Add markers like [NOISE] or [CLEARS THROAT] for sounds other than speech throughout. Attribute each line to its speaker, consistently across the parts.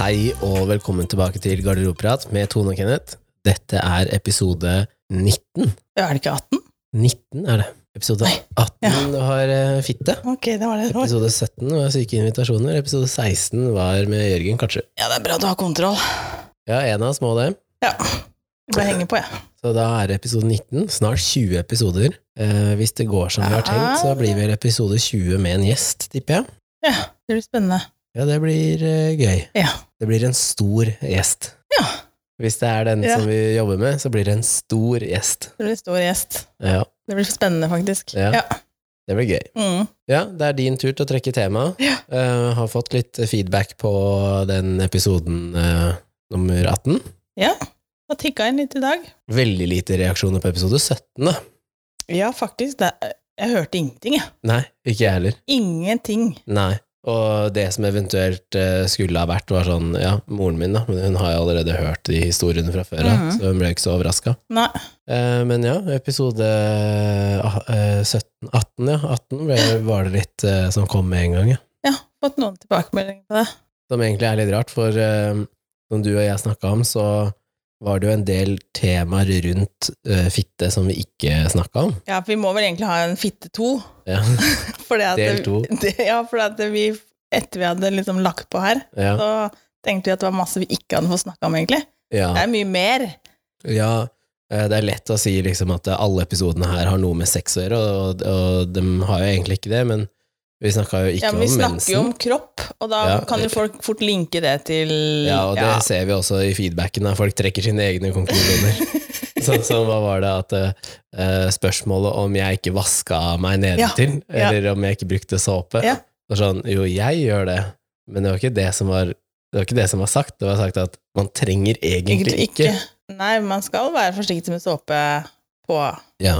Speaker 1: Hei og velkommen tilbake til Garderobeprat med Tone og Kenneth. Dette er episode 19.
Speaker 2: Ja, Er det ikke 18?
Speaker 1: 19 er det. Episode 18
Speaker 2: ja.
Speaker 1: var eh, fitte.
Speaker 2: Ok, det var det. det. var-
Speaker 1: Episode 17 var syke invitasjoner. Episode 16 var med Jørgen, kanskje.
Speaker 2: Ja, det er bra du har kontroll.
Speaker 1: Ja, en av oss må det.
Speaker 2: Ja. Jeg bare henger på, jeg.
Speaker 1: Så da er det episode 19. Snart 20 episoder. Eh, hvis det går som vi har tenkt, så blir vel episode 20 med en gjest, tipper jeg.
Speaker 2: Ja, det blir spennende.
Speaker 1: Ja, det blir eh, gøy.
Speaker 2: Ja.
Speaker 1: Det blir en stor gjest.
Speaker 2: Ja.
Speaker 1: Hvis det er den
Speaker 2: Ja.
Speaker 1: som vi jobber med, så blir det en stor gjest.
Speaker 2: Det blir stor gjest.
Speaker 1: Ja.
Speaker 2: Det blir spennende, faktisk.
Speaker 1: Ja. Det blir gøy.
Speaker 2: Mm.
Speaker 1: Ja, det er din tur til å trekke tema.
Speaker 2: Ja.
Speaker 1: Eh, har fått litt feedback på den episoden eh, nummer 18.
Speaker 2: Da tikka inn litt i dag.
Speaker 1: Veldig lite reaksjoner på episode 17, da.
Speaker 2: Ja, faktisk. Det er, jeg hørte ingenting, jeg.
Speaker 1: Nei, ikke jeg heller.
Speaker 2: Ingenting.
Speaker 1: Nei. Og det som eventuelt eh, skulle ha vært, var sånn Ja, moren min, da. men Hun har jo allerede hørt de historiene fra før av,
Speaker 2: Mhm.
Speaker 1: så hun ble ikke så overraska.
Speaker 2: Nei.
Speaker 1: Eh, men ja, episode ah, eh, 17 18, ja. 18 ble, var det litt eh, som kom med en gang, ja.
Speaker 2: Ja, fått noen tilbakemeldinger på det.
Speaker 1: Som egentlig er litt rart, for eh, som du og jeg snakka om, så var det jo en del temaer rundt eh, fitte som vi ikke snakka om.
Speaker 2: Ja, for vi må vel egentlig ha en fitte to. [LAUGHS]
Speaker 1: Ja,
Speaker 2: fordi at
Speaker 1: Del to.
Speaker 2: [LAUGHS] Det, ja, for at vi, etter vi hadde liksom lagt på her,
Speaker 1: ja,
Speaker 2: så tenkte vi at det var masse vi ikke hadde fått snakka om, egentlig.
Speaker 1: ja,
Speaker 2: Det er mye mer.
Speaker 1: ja. Eh, Det er lett å si liksom at alle episodene her har noe med sex å gjøre, og, og de har jo egentlig ikke det, men vi snakka jo ikke
Speaker 2: Ja, men vi
Speaker 1: om
Speaker 2: snakker jo
Speaker 1: mensen.
Speaker 2: om kropp, og da
Speaker 1: Ja,
Speaker 2: kan jo
Speaker 1: det-
Speaker 2: folk fort linke det til
Speaker 1: Ja, og det ser vi også i feedbacken, der folk trekker sine egne konklusjoner.
Speaker 2: [LAUGHS]
Speaker 1: Sånn som hva var det at eh, spørsmålet om jeg ikke vaska meg nedentil,
Speaker 2: Ja, ja.
Speaker 1: eller om jeg ikke brukte såpe
Speaker 2: Ja.
Speaker 1: var sånn, Jo, jeg gjør det, men det var ikke det som var det var ikke det som var sagt, det var sagt at man trenger egentlig,
Speaker 2: egentlig
Speaker 1: ikke.
Speaker 2: ikke. Nei, man skal være forsiktig med såpe på
Speaker 1: Ja.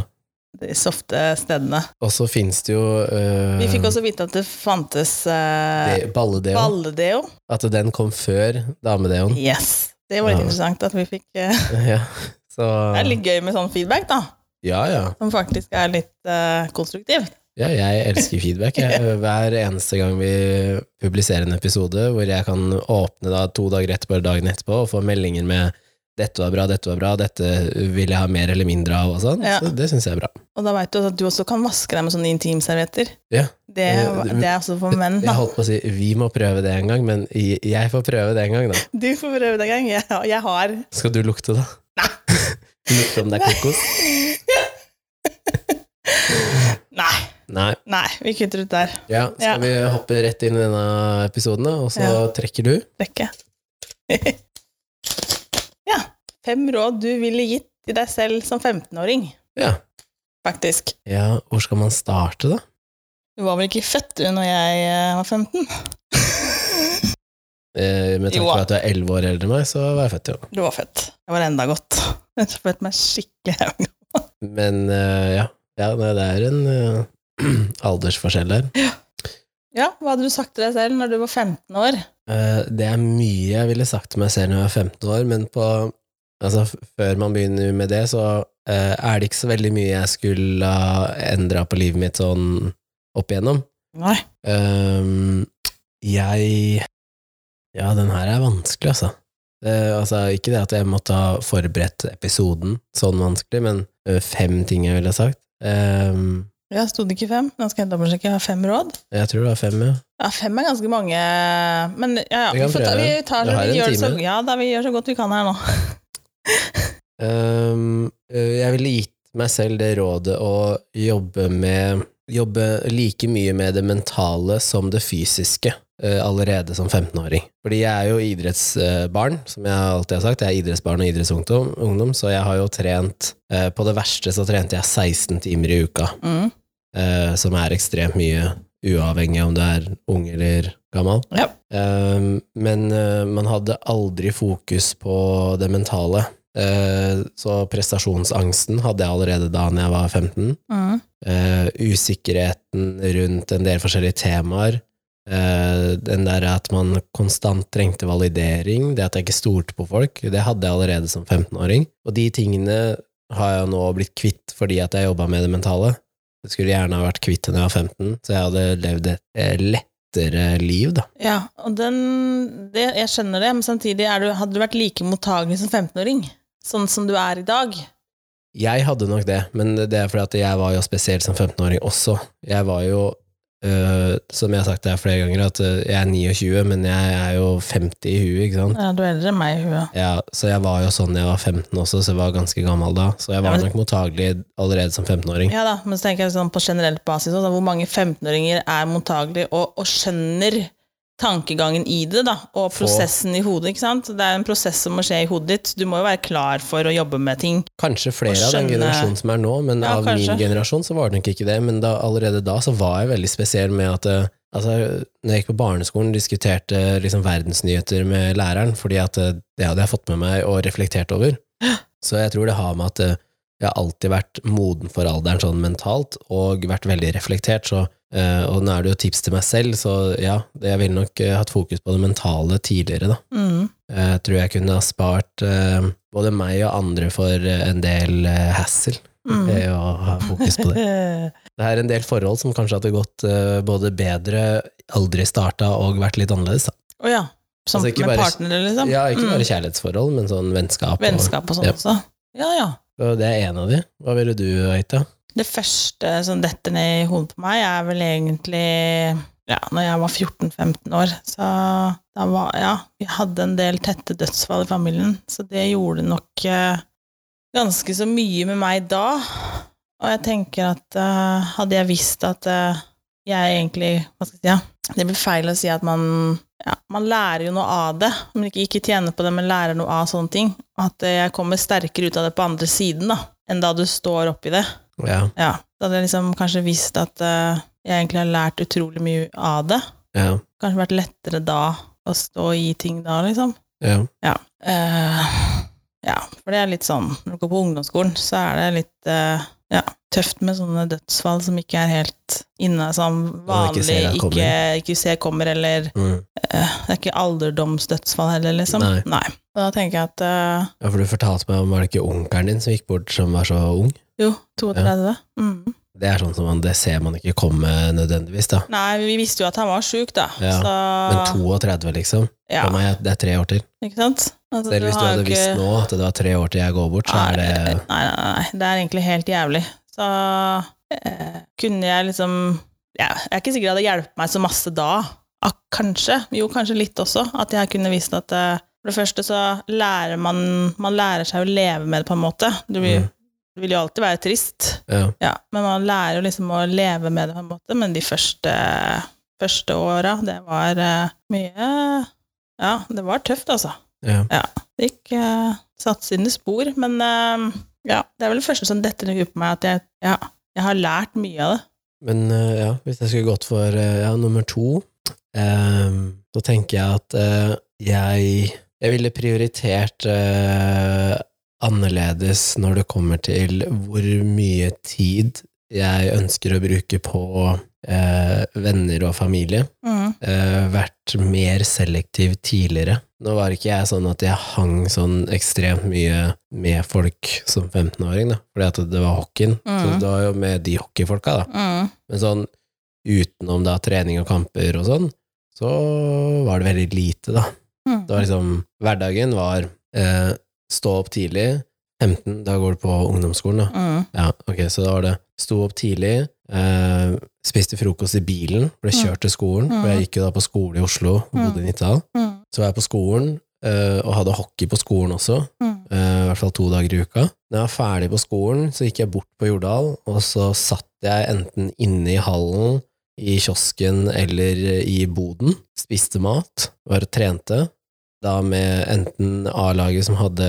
Speaker 2: de softe stedene.
Speaker 1: Og så fins det jo eh,
Speaker 2: Vi fikk også vite at det fantes eh,
Speaker 1: det- balledeo.
Speaker 2: balledeo.
Speaker 1: At den kom før damedeoen.
Speaker 2: Yes. Det var litt
Speaker 1: Ja.
Speaker 2: interessant at vi fikk eh,
Speaker 1: [LAUGHS] Ja. Så
Speaker 2: Det er litt gøy med sånn feedback, da.
Speaker 1: Ja, ja.
Speaker 2: Som faktisk er litt eh, konstruktivt.
Speaker 1: Ja, jeg elsker feedback.
Speaker 2: [LAUGHS]
Speaker 1: Jeg. Hver eneste gang vi publiserer en episode hvor jeg kan åpne da to dager etterpå eller dagen etterpå og få meldinger med 'dette var bra, dette var bra, dette vil jeg ha mer eller mindre av' og sånn,
Speaker 2: Ja.
Speaker 1: så det syns jeg er bra.
Speaker 2: Og da veit du at du også kan vaske deg med sånne intimservietter.
Speaker 1: Ja.
Speaker 2: Det,
Speaker 1: Eh, det-
Speaker 2: det er også for menn,
Speaker 1: Jeg
Speaker 2: da.
Speaker 1: holdt på å si 'vi må prøve det en gang', men jeg får prøve det en gang, da.
Speaker 2: Du får prøve det en gang. Jeg, har- jeg har
Speaker 1: Skal du lukte, da? [LAUGHS] Lukte om det er kokos?
Speaker 2: [LAUGHS] Nei,
Speaker 1: Nei.
Speaker 2: nei, vi kutter ut der.
Speaker 1: Ja, skal
Speaker 2: Ja.
Speaker 1: vi hoppe rett inn i denne episoden, da, og så
Speaker 2: Ja.
Speaker 1: trekker du?
Speaker 2: rekke. [LAUGHS] ja. Fem råd du ville gitt til deg selv som 15-åring,
Speaker 1: Ja.
Speaker 2: faktisk.
Speaker 1: ja. Hvor skal man starte, da?
Speaker 2: Du var vel ikke født du når jeg eh, var 15?
Speaker 1: Eh, Med tanke
Speaker 2: Jo.
Speaker 1: på at du er elleve år eldre enn meg, så var jeg født, jo.
Speaker 2: Du var født. Jeg var enda godt. [LAUGHS] Jeg følte meg skikkelig [LAUGHS] ung.
Speaker 1: Men eh, ja, ja nei, det er en eh, [CLEARS THROAT] aldersforskjell der.
Speaker 2: Ja, hva hadde du sagt til deg selv når du var 15 år?
Speaker 1: Eh, det er mye jeg ville sagt til meg selv når jeg var 15 år, men på, altså, f- før man begynner med det, så eh, er det ikke så veldig mye jeg skulle ha endra på livet mitt sånn opp igjennom.
Speaker 2: Nei.
Speaker 1: Ehm, jeg Ja, den her er vanskelig, altså. Det, altså. Ikke det at jeg måtte ha forberedt episoden sånn vanskelig, men eh, fem ting jeg ville sagt. Ehm,
Speaker 2: Ja, sto det ikke fem? Nå skal jeg dobbeltsjekke. Jeg har fem råd.
Speaker 1: jeg tror det var fem, ja.
Speaker 2: Ja, fem er ganske mange, men ja, ja.
Speaker 1: Vi
Speaker 2: Vi,
Speaker 1: kan
Speaker 2: får ta, vi,
Speaker 1: prøve.
Speaker 2: tar,
Speaker 1: Vi har
Speaker 2: vi,
Speaker 1: en
Speaker 2: gjør det så,
Speaker 1: time.
Speaker 2: ja, da, vi gjør så godt vi kan her nå.
Speaker 1: Ehm, øh, jeg ville gitt meg selv det rådet å jobbe med Jobbe like mye med det mentale som det fysiske øh, allerede som 15-åring. Fordi jeg er jo idrettsbarn, som jeg alltid har sagt. Jeg er idrettsbarn og idrettsungdom, ungdom, så jeg har jo trent eh, På det verste så trente jeg 16 timer i uka,
Speaker 2: Mm.
Speaker 1: eh, som er ekstremt mye, uavhengig om du er ung eller gammel.
Speaker 2: Ja.
Speaker 1: Ehm, men eh, man hadde aldri fokus på det mentale. Eh, så prestasjonsangsten hadde jeg allerede da når jeg var 15.
Speaker 2: Mm.
Speaker 1: Eh, usikkerheten rundt en del forskjellige temaer. Eh, den der at man konstant trengte validering, det at jeg ikke stolte på folk, det hadde jeg allerede som 15-åring. Og de tingene har jeg nå blitt kvitt fordi at jeg jobba med det mentale. Det skulle gjerne ha vært kvitt da jeg var 15, så jeg hadde levd et eh, lett lettere liv, da.
Speaker 2: Ja, og den det, Jeg skjønner det, men samtidig er du, hadde du vært like mottagelig som 15-åring, sånn som du er i dag.
Speaker 1: Jeg hadde nok det, men det er fordi at jeg var jo spesiell som 15-åring også. Jeg var jo, øh, som jeg har sagt her flere ganger, at øh, jeg er 29, men jeg er jo 50 i huet, ikke sant?
Speaker 2: Ja, du er eldre enn meg i huet.
Speaker 1: Ja, så jeg var jo sånn jeg var 15 også, så jeg var ganske gammel da. Så jeg
Speaker 2: Ja,
Speaker 1: var
Speaker 2: men-
Speaker 1: nok mottagelig allerede som 15-åring.
Speaker 2: Ja da, men så tenker jeg sånn på generelt basis også, da, hvor mange 15-åringer er mottagelige og, og skjønner tankegangen i det, da, og prosessen i hodet, ikke sant? Det er en prosess som må skje i hodet ditt. Du må jo være klar for å jobbe med ting.
Speaker 1: Kanskje flere
Speaker 2: Å
Speaker 1: av den
Speaker 2: skjønne-
Speaker 1: generasjonen som er nå, men
Speaker 2: Ja,
Speaker 1: av
Speaker 2: kanskje.
Speaker 1: min generasjon så var det nok ikke det. Men da, allerede da så var jeg veldig spesiell med at eh, altså, når jeg gikk på barneskolen, diskuterte liksom verdensnyheter med læreren, fordi at eh, det hadde jeg fått med meg og reflektert
Speaker 2: [GASPS]
Speaker 1: over. Så jeg tror det har med at eh, jeg har alltid vært moden for alderen sånn mentalt, og vært veldig reflektert, så eh, og nå er det jo tips til meg selv, så ja, jeg ville nok eh, hatt fokus på det mentale tidligere, da. Jeg
Speaker 2: Mm.
Speaker 1: Eh, tror jeg kunne ha spart eh, både meg og andre for eh, en del eh, hassle
Speaker 2: Mm. Eh,
Speaker 1: ved å ha fokus på [LAUGHS] det. Det er en del forhold som kanskje hadde gått eh, både bedre, aldri starta og vært litt annerledes. da.
Speaker 2: Å ja. Som
Speaker 1: Altså, ikke
Speaker 2: med
Speaker 1: bare-
Speaker 2: partnere, liksom?
Speaker 1: Ja, ikke bare
Speaker 2: mm.
Speaker 1: kjærlighetsforhold, men sånn vennskap. og-
Speaker 2: Vennskap og sånn
Speaker 1: Ja.
Speaker 2: også. Ja, ja.
Speaker 1: Og det er en av de. Hva ville du Aita?
Speaker 2: Det første som detter ned i hodet på meg, er vel egentlig ja, når jeg var 14-15 år. Så da var Ja, vi hadde en del tette dødsfall i familien, så det gjorde nok eh, ganske så mye med meg da. Og jeg tenker at eh, hadde jeg visst at eh, jeg egentlig Hva skal jeg si? Ja, det blir feil å si at man ja, man lærer jo noe av det, om man ikke, ikke tjener på det, men lærer noe av sånne ting. At eh, jeg kommer sterkere ut av det på andre siden da, enn da du står oppi det.
Speaker 1: Ja,
Speaker 2: Ja, da hadde jeg liksom kanskje visst at eh, jeg egentlig har lært utrolig mye av det.
Speaker 1: ja,
Speaker 2: Kanskje vært lettere da å stå i ting da, liksom.
Speaker 1: ja.
Speaker 2: Eh, ja, for det er litt sånn, når du går på ungdomsskolen, så er det litt eh, ja, tøft med sånne dødsfall som ikke er helt inne, som
Speaker 1: man ikke
Speaker 2: vanlig
Speaker 1: ser at
Speaker 2: ikke, ikke,
Speaker 1: kommer.
Speaker 2: ser kommer, eller
Speaker 1: Mm.
Speaker 2: eh, det er ikke alderdomsdødsfall heller, liksom.
Speaker 1: Nei.
Speaker 2: Og Da tenker jeg at eh,
Speaker 1: ja, for du fortalte meg om var det ikke onkelen din som gikk bort som var så ung?
Speaker 2: jo, 32. Mm.
Speaker 1: Det er sånn som man, det ser man ikke komme nødvendigvis, da.
Speaker 2: Nei, vi visste jo at han var sjuk, da.
Speaker 1: Ja,
Speaker 2: så,
Speaker 1: Men 32, liksom.
Speaker 2: ja,
Speaker 1: For meg, det er tre år til.
Speaker 2: ikke sant? Altså,
Speaker 1: Selv hvis du
Speaker 2: har
Speaker 1: hadde
Speaker 2: jo ikke-
Speaker 1: visst nå at det var tre år til jeg går bort, så er det
Speaker 2: Nei, nei, nei, nei, det er egentlig helt jævlig. Så eh, kunne jeg liksom ja, Jeg er ikke sikker det hadde hjulpet meg så masse da. Ah, kanskje. Jo, kanskje litt også. At jeg kunne visst at eh, For det første så lærer man Man lærer seg å leve med det, på en måte. Du vil,
Speaker 1: Mm.
Speaker 2: det vil jo alltid være trist,
Speaker 1: ja,
Speaker 2: ja, men man lærer jo liksom å leve med det på en måte. Men de første, første åra, det var eh, mye Ja, det var tøft, altså.
Speaker 1: ja.
Speaker 2: Det gikk eh, satt sine spor, men eh, ja, det er vel det første som detter i huet på meg, at jeg, ja, jeg har lært mye av det.
Speaker 1: Men eh, ja, hvis jeg skulle gått for eh, ja, nummer to, eh, så tenker jeg at eh, jeg, jeg ville prioritert eh, annerledes når det kommer til hvor mye tid jeg ønsker å bruke på eh, venner og familie.
Speaker 2: Mm,
Speaker 1: eh, vært mer selektiv tidligere. Nå var ikke jeg sånn at jeg hang sånn ekstremt mye med folk som 15-åring, da, fordi at det var hockeyen. Så
Speaker 2: Mhm.
Speaker 1: det var jo med de hockeyfolka, da.
Speaker 2: mm,
Speaker 1: Men sånn utenom da trening og kamper og sånn, så var det veldig lite, da.
Speaker 2: mm.
Speaker 1: Det var liksom Hverdagen var eh, stå opp tidlig, 15, da går du på ungdomsskolen, da.
Speaker 2: Mm,
Speaker 1: Ja, ok, så da var det Sto opp tidlig, eh, spiste frokost i bilen, ble
Speaker 2: Mm.
Speaker 1: kjørt til skolen. For jeg gikk jo da på skole i Oslo, bodde i Nittedal.
Speaker 2: mm,
Speaker 1: Så var jeg på skolen, eh, og hadde hockey på skolen også.
Speaker 2: mm,
Speaker 1: eh, I hvert fall to dager i uka. Når jeg var ferdig på skolen, så gikk jeg bort på Jordal, og så satt jeg enten inne i hallen, i kiosken eller i boden. Spiste mat, var og trente. Da med enten A-laget som hadde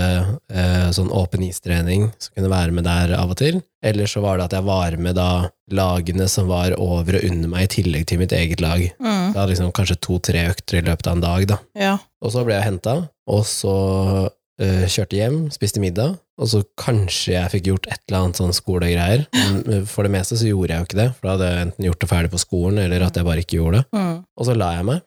Speaker 1: eh, sånn åpen istrening, som kunne være med der av og til, eller så var det at jeg var med da lagene som var over og under meg, i tillegg til mitt eget lag. Jeg hadde liksom kanskje to-tre økter i løpet av en dag, da.
Speaker 2: mm. Ja.
Speaker 1: Og så ble jeg henta, og så eh, kjørte hjem, spiste middag, og så kanskje jeg fikk gjort et eller annet sånn skolegreier. Men eh, for det meste så gjorde jeg jo ikke det, for da hadde jeg enten gjort det ferdig på skolen, eller at jeg bare ikke gjorde det.
Speaker 2: mm,
Speaker 1: Og så la jeg meg,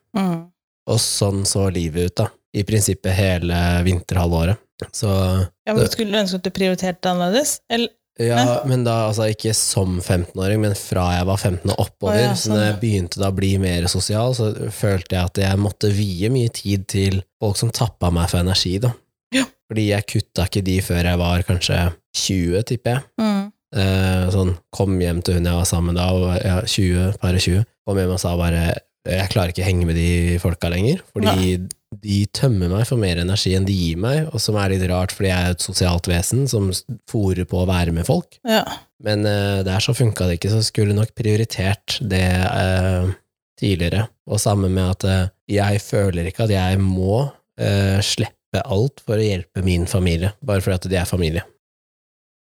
Speaker 1: og sånn så livet ut, da. I prinsippet hele vinterhalvåret. Så
Speaker 2: ja, men Skulle du ønske at du prioriterte annerledes? Eller,
Speaker 1: Ja, men da altså ikke som 15-åring, men fra jeg var 15 og oppover.
Speaker 2: Å ja,
Speaker 1: Så når jeg
Speaker 2: sånn.
Speaker 1: begynte da å bli mer sosial, så følte jeg at jeg måtte vie mye tid til folk som tappa meg for energi, da.
Speaker 2: Ja.
Speaker 1: Fordi jeg kutta ikke de før jeg var kanskje 20, tipper jeg.
Speaker 2: Mm.
Speaker 1: Eh, sånn, kom hjem til hun jeg var sammen med da, og ja, 20, par og 20. Kom hjem og sa bare jeg klarer ikke å henge med de folka lenger, fordi de tømmer meg for mer energi enn de gir meg, og som er litt rart, fordi jeg er et sosialt vesen som fòrer på å være med folk.
Speaker 2: Ja.
Speaker 1: Men eh, der så funka det ikke, så skulle nok prioritert det eh, tidligere. Og samme med at eh, jeg føler ikke at jeg må eh, slippe alt for å hjelpe min familie, bare fordi at de er familie.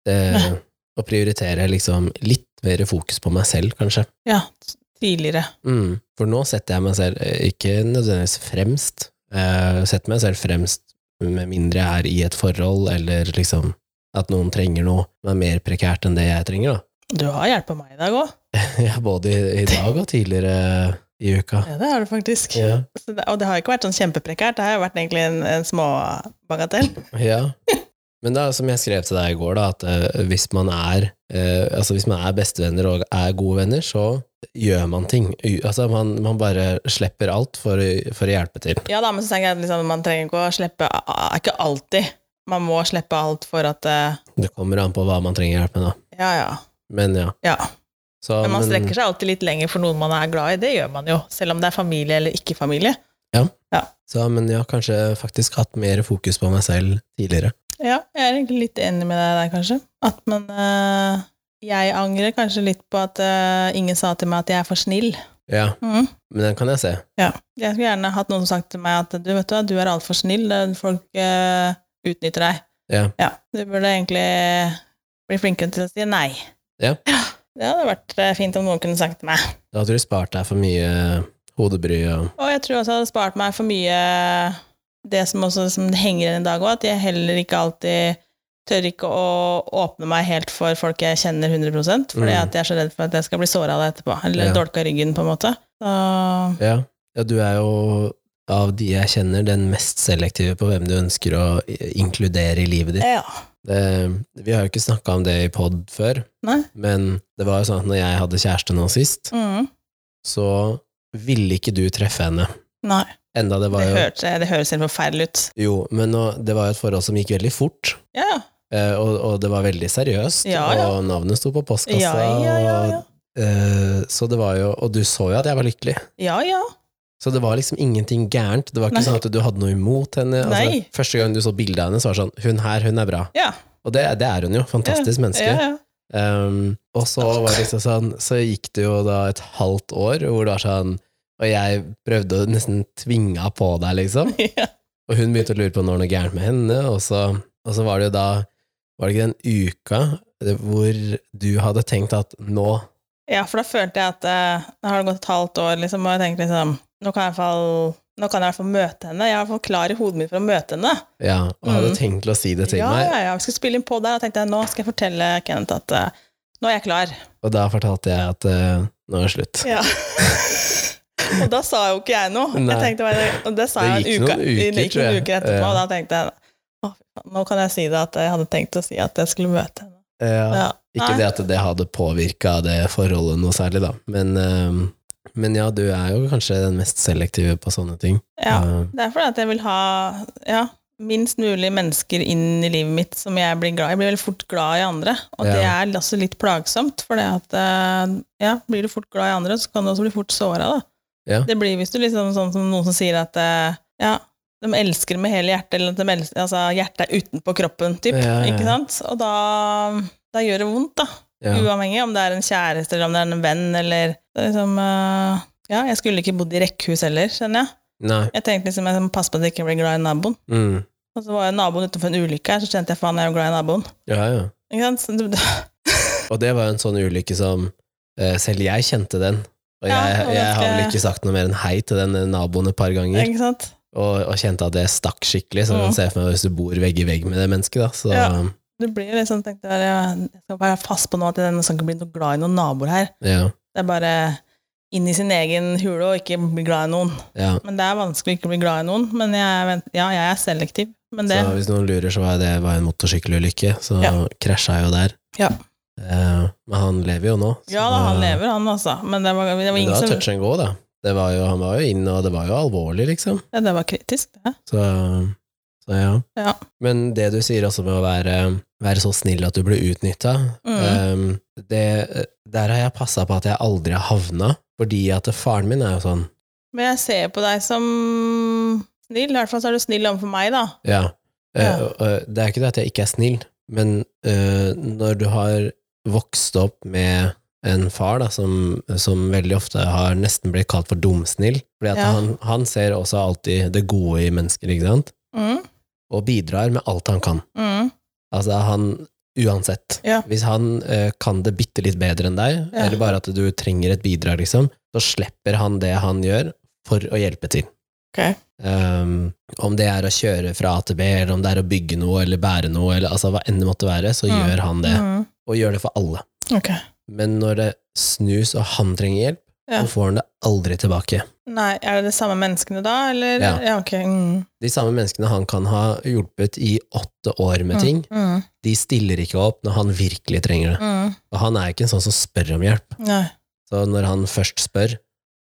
Speaker 1: Det,
Speaker 2: Nei.
Speaker 1: å prioritere liksom litt mer fokus på meg selv, kanskje.
Speaker 2: ja. Tidligere.
Speaker 1: Mm. For nå setter jeg meg selv eh, ikke nødvendigvis fremst, eh, setter meg selv fremst med mindre jeg er i et forhold, eller liksom at noen trenger noe som er mer prekært enn det jeg trenger, da.
Speaker 2: Du har hjulpet meg i dag òg.
Speaker 1: [LAUGHS] Ja, både i, i dag og tidligere i uka.
Speaker 2: Ja, det har du faktisk.
Speaker 1: Ja.
Speaker 2: Så det, og det har ikke vært sånn kjempeprekært. Det har jo vært egentlig en, en småbagatell.
Speaker 1: ja. Men da, som jeg skrev til deg i går, da, at eh, hvis man er eh, altså hvis man er bestevenner og er gode venner, så gjør man ting. U- Altså man, man bare slipper alt for, å- for å hjelpe til.
Speaker 2: Ja da, men så tenker jeg at liksom, man trenger ikke å slippe ah, Ikke alltid. Man må slippe alt for at eh,
Speaker 1: Det kommer an på hva man trenger hjelp med, da.
Speaker 2: Ja, ja.
Speaker 1: Men ja.
Speaker 2: ja.
Speaker 1: Så,
Speaker 2: Men man strekker seg alltid litt lenger for noen man er glad i. Det gjør man jo. Selv om det er familie eller ikke familie.
Speaker 1: så, men jeg har kanskje faktisk hatt mer fokus på meg selv tidligere.
Speaker 2: Ja, jeg er egentlig litt enig med deg der, kanskje. At man eh, Jeg angrer kanskje litt på at eh, ingen sa til meg at jeg er for snill.
Speaker 1: Ja,
Speaker 2: Mhm.
Speaker 1: men den kan jeg se.
Speaker 2: Ja. Jeg skulle gjerne hatt noen som sagt til meg at du vet du, hva, du er altfor snill, det- folk eh, utnytter deg.
Speaker 1: Ja.
Speaker 2: Du burde egentlig bli flinkere til å si nei.
Speaker 1: Ja.
Speaker 2: Det hadde vært eh, fint om noen kunne sagt til meg.
Speaker 1: Da hadde du spart deg for mye hodebry og
Speaker 2: Og jeg tror også det hadde spart meg for mye det som også som det henger igjen i dag òg, at jeg heller ikke alltid tør ikke å åpne meg helt for folk jeg kjenner 100 fordi
Speaker 1: Mm.
Speaker 2: at jeg er så redd for at jeg skal bli såra av det etterpå. Eller
Speaker 1: Ja.
Speaker 2: dolka i ryggen, på en måte. Så
Speaker 1: Ja. ja, du er jo av de jeg kjenner, den mest selektive på hvem du ønsker å i- inkludere i livet ditt.
Speaker 2: ja.
Speaker 1: Det, vi har jo ikke snakka om det i pod før,
Speaker 2: Nei.
Speaker 1: men det var jo sånn at når jeg hadde kjæreste nå sist,
Speaker 2: Mm.
Speaker 1: så ville ikke du treffe henne.
Speaker 2: Nei.
Speaker 1: Enda det var
Speaker 2: Det,
Speaker 1: jo
Speaker 2: hørte, det høres helt forferdelig ut.
Speaker 1: Jo, men nå, det var jo et forhold som gikk veldig fort,
Speaker 2: Ja, ja.
Speaker 1: eh, og, og det var veldig seriøst,
Speaker 2: Ja, ja.
Speaker 1: og navnet sto på postkassa,
Speaker 2: Ja, ja, ja, ja.
Speaker 1: og eh, Så det var jo Og du så jo at jeg var lykkelig.
Speaker 2: ja, ja.
Speaker 1: Så det var liksom ingenting gærent. Det var ikke
Speaker 2: Nei.
Speaker 1: sånn at du hadde noe imot henne. Altså,
Speaker 2: Nei.
Speaker 1: første gang du så bildet av henne, så var det sånn Hun her, hun er bra.
Speaker 2: Ja.
Speaker 1: Og det, det er hun jo. Fantastisk menneske.
Speaker 2: Ja, ja.
Speaker 1: Um, og så var det liksom sånn Så gikk det jo da et halvt år hvor det var sånn Og jeg prøvde å nesten tvinga på deg, liksom.
Speaker 2: Ja. [LAUGHS]
Speaker 1: Og hun begynte å lure på om det var noe gærent med henne, og så, og så var det jo da Var det ikke den uka eh, hvor du hadde tenkt at nå
Speaker 2: ja, for da følte jeg at eh, nå har det gått et halvt år, liksom, og jeg tenkte liksom Nå kan jeg i hvert fall, nå kan jeg i hvert fall møte henne. Jeg er i hvert fall klar i hodet mitt for å møte henne.
Speaker 1: Ja, og hadde
Speaker 2: Mm.
Speaker 1: tenkt til å si det til
Speaker 2: ja,
Speaker 1: meg.
Speaker 2: Ja, ja, vi skulle spille inn på der, og tenkte jeg, nå skal jeg fortelle Kenneth at eh, nå er jeg klar.
Speaker 1: Og da fortalte jeg at eh, nå er det slutt.
Speaker 2: [LAUGHS] og da sa jo ikke jeg noe.
Speaker 1: Nei.
Speaker 2: Jeg tenkte bare, og det sa
Speaker 1: Det
Speaker 2: jeg en
Speaker 1: gikk
Speaker 2: uke,
Speaker 1: noen uker,
Speaker 2: det gikk
Speaker 1: tror
Speaker 2: noen
Speaker 1: jeg.
Speaker 2: uker etterpå,
Speaker 1: Ja.
Speaker 2: og da tenkte jeg, å, fy faen, nå kan jeg si det at jeg hadde tenkt å si at jeg skulle møte henne.
Speaker 1: Ja.
Speaker 2: Ja.
Speaker 1: Eh, Ikke
Speaker 2: Nei.
Speaker 1: det at det hadde påvirka det forholdet noe særlig, da. Men, ehm, men ja, du er jo kanskje den mest selektive på sånne ting.
Speaker 2: Ja.
Speaker 1: Eh,
Speaker 2: Det er fordi at jeg vil ha ja, minst mulig mennesker inn i livet mitt som jeg blir glad i. Jeg blir veldig fort glad i andre, og det
Speaker 1: Ja.
Speaker 2: er også litt plagsomt. For det at, eh, ja, blir du fort glad i andre, så kan du også bli fort såra.
Speaker 1: Ja.
Speaker 2: Det blir hvis du liksom sånn som noen som sier at eh, ja, de elsker med hele hjertet, eller at de elsker, altså, hjertet er utenpå kroppen, typ,
Speaker 1: Ja, ja, ja.
Speaker 2: ikke sant? Og da, da gjør det vondt, da.
Speaker 1: ja.
Speaker 2: Uavhengig om det er en kjæreste, eller om det er en venn, eller det er liksom, eh, Ja, jeg skulle ikke bodd i rekkehus heller, skjønner jeg.
Speaker 1: Nei.
Speaker 2: Jeg tenkte liksom, jeg må passe på at jeg ikke blir glad i naboen.
Speaker 1: Mm.
Speaker 2: Og så var jo naboen utenfor en ulykke her, så kjente jeg faen, jeg er jo glad i naboen.
Speaker 1: Ja, ja.
Speaker 2: Ikke sant? Så [LAUGHS] det-
Speaker 1: Og det var jo en sånn ulykke som eh, Selv jeg kjente den. Og
Speaker 2: Ja,
Speaker 1: jeg,
Speaker 2: og det
Speaker 1: jeg har vel
Speaker 2: skal-
Speaker 1: ikke sagt noe mer enn hei til den eh, naboen et par ganger,
Speaker 2: Ikke sant?
Speaker 1: og, og kjente at det stakk skikkelig. Så
Speaker 2: Mm.
Speaker 1: man ser for meg hvis du bor vegg i vegg med det mennesket, da. Så,
Speaker 2: Ja. Du blir jo liksom tenkt, jeg jeg skal være fast på nå at jeg skal ikke bli noe glad i noen naboer her.
Speaker 1: ja,
Speaker 2: Det er bare inn i sin egen hule og ikke bli glad i noen.
Speaker 1: ja.
Speaker 2: Men det er vanskelig å ikke bli glad i noen, men jeg, er vent- ja, jeg er selektiv. Men det,
Speaker 1: Så hvis noen lurer, så var det var en motorsykkelulykke, så
Speaker 2: Ja.
Speaker 1: krasja jeg jo der.
Speaker 2: Ja.
Speaker 1: Eh, men han lever jo nå. så
Speaker 2: Ja da, han lever, han altså. Men det var, det var
Speaker 1: Men det
Speaker 2: ingen
Speaker 1: var
Speaker 2: som
Speaker 1: touch and go, da. Det var jo, han var jo inne, og det var jo alvorlig, liksom.
Speaker 2: ja, Det var kritisk, det.
Speaker 1: Så, så ja.
Speaker 2: Ja.
Speaker 1: Men det du sier også med å være, være så snill at du blir utnytta,
Speaker 2: Mm.
Speaker 1: det, der har jeg passa på at jeg aldri har havna, fordi at faren min er jo sånn
Speaker 2: Men jeg ser på deg som snill. I hvert fall så er du snill overfor meg, da.
Speaker 1: Ja. Eh,
Speaker 2: Ja.
Speaker 1: og, eh, Det er ikke det at jeg ikke er snill, men eh, når du har vokst opp med en far da, som, som veldig ofte har nesten blitt kalt for dumsnill, fordi at
Speaker 2: Ja.
Speaker 1: han, han ser også alltid det gode i mennesker, ikke sant?
Speaker 2: Mm.
Speaker 1: Og bidrar med alt han kan.
Speaker 2: Mm.
Speaker 1: Altså han, uansett.
Speaker 2: Ja.
Speaker 1: Hvis han eh, kan det bitte litt bedre enn deg,
Speaker 2: Ja.
Speaker 1: eller bare at du trenger et bidrag, liksom, så slipper han det han gjør, for å hjelpe til.
Speaker 2: Ok.
Speaker 1: Um, om det er å kjøre fra A til B, eller om det er å bygge noe, eller bære noe, eller altså hva enn det måtte være, så
Speaker 2: Mm.
Speaker 1: gjør han det.
Speaker 2: Mm.
Speaker 1: Og gjør det for alle.
Speaker 2: Ok.
Speaker 1: Men når det snus, og han trenger hjelp,
Speaker 2: Ja.
Speaker 1: så får han det aldri tilbake.
Speaker 2: Nei, er det de samme menneskene da, eller?
Speaker 1: Ja.
Speaker 2: ok. Mm.
Speaker 1: De samme menneskene han kan ha hjulpet i åtte år med ting,
Speaker 2: Mm.
Speaker 1: de stiller ikke opp når han virkelig trenger det.
Speaker 2: Mm.
Speaker 1: Og han er ikke en sånn som spør om hjelp.
Speaker 2: Nei.
Speaker 1: Så når han først spør,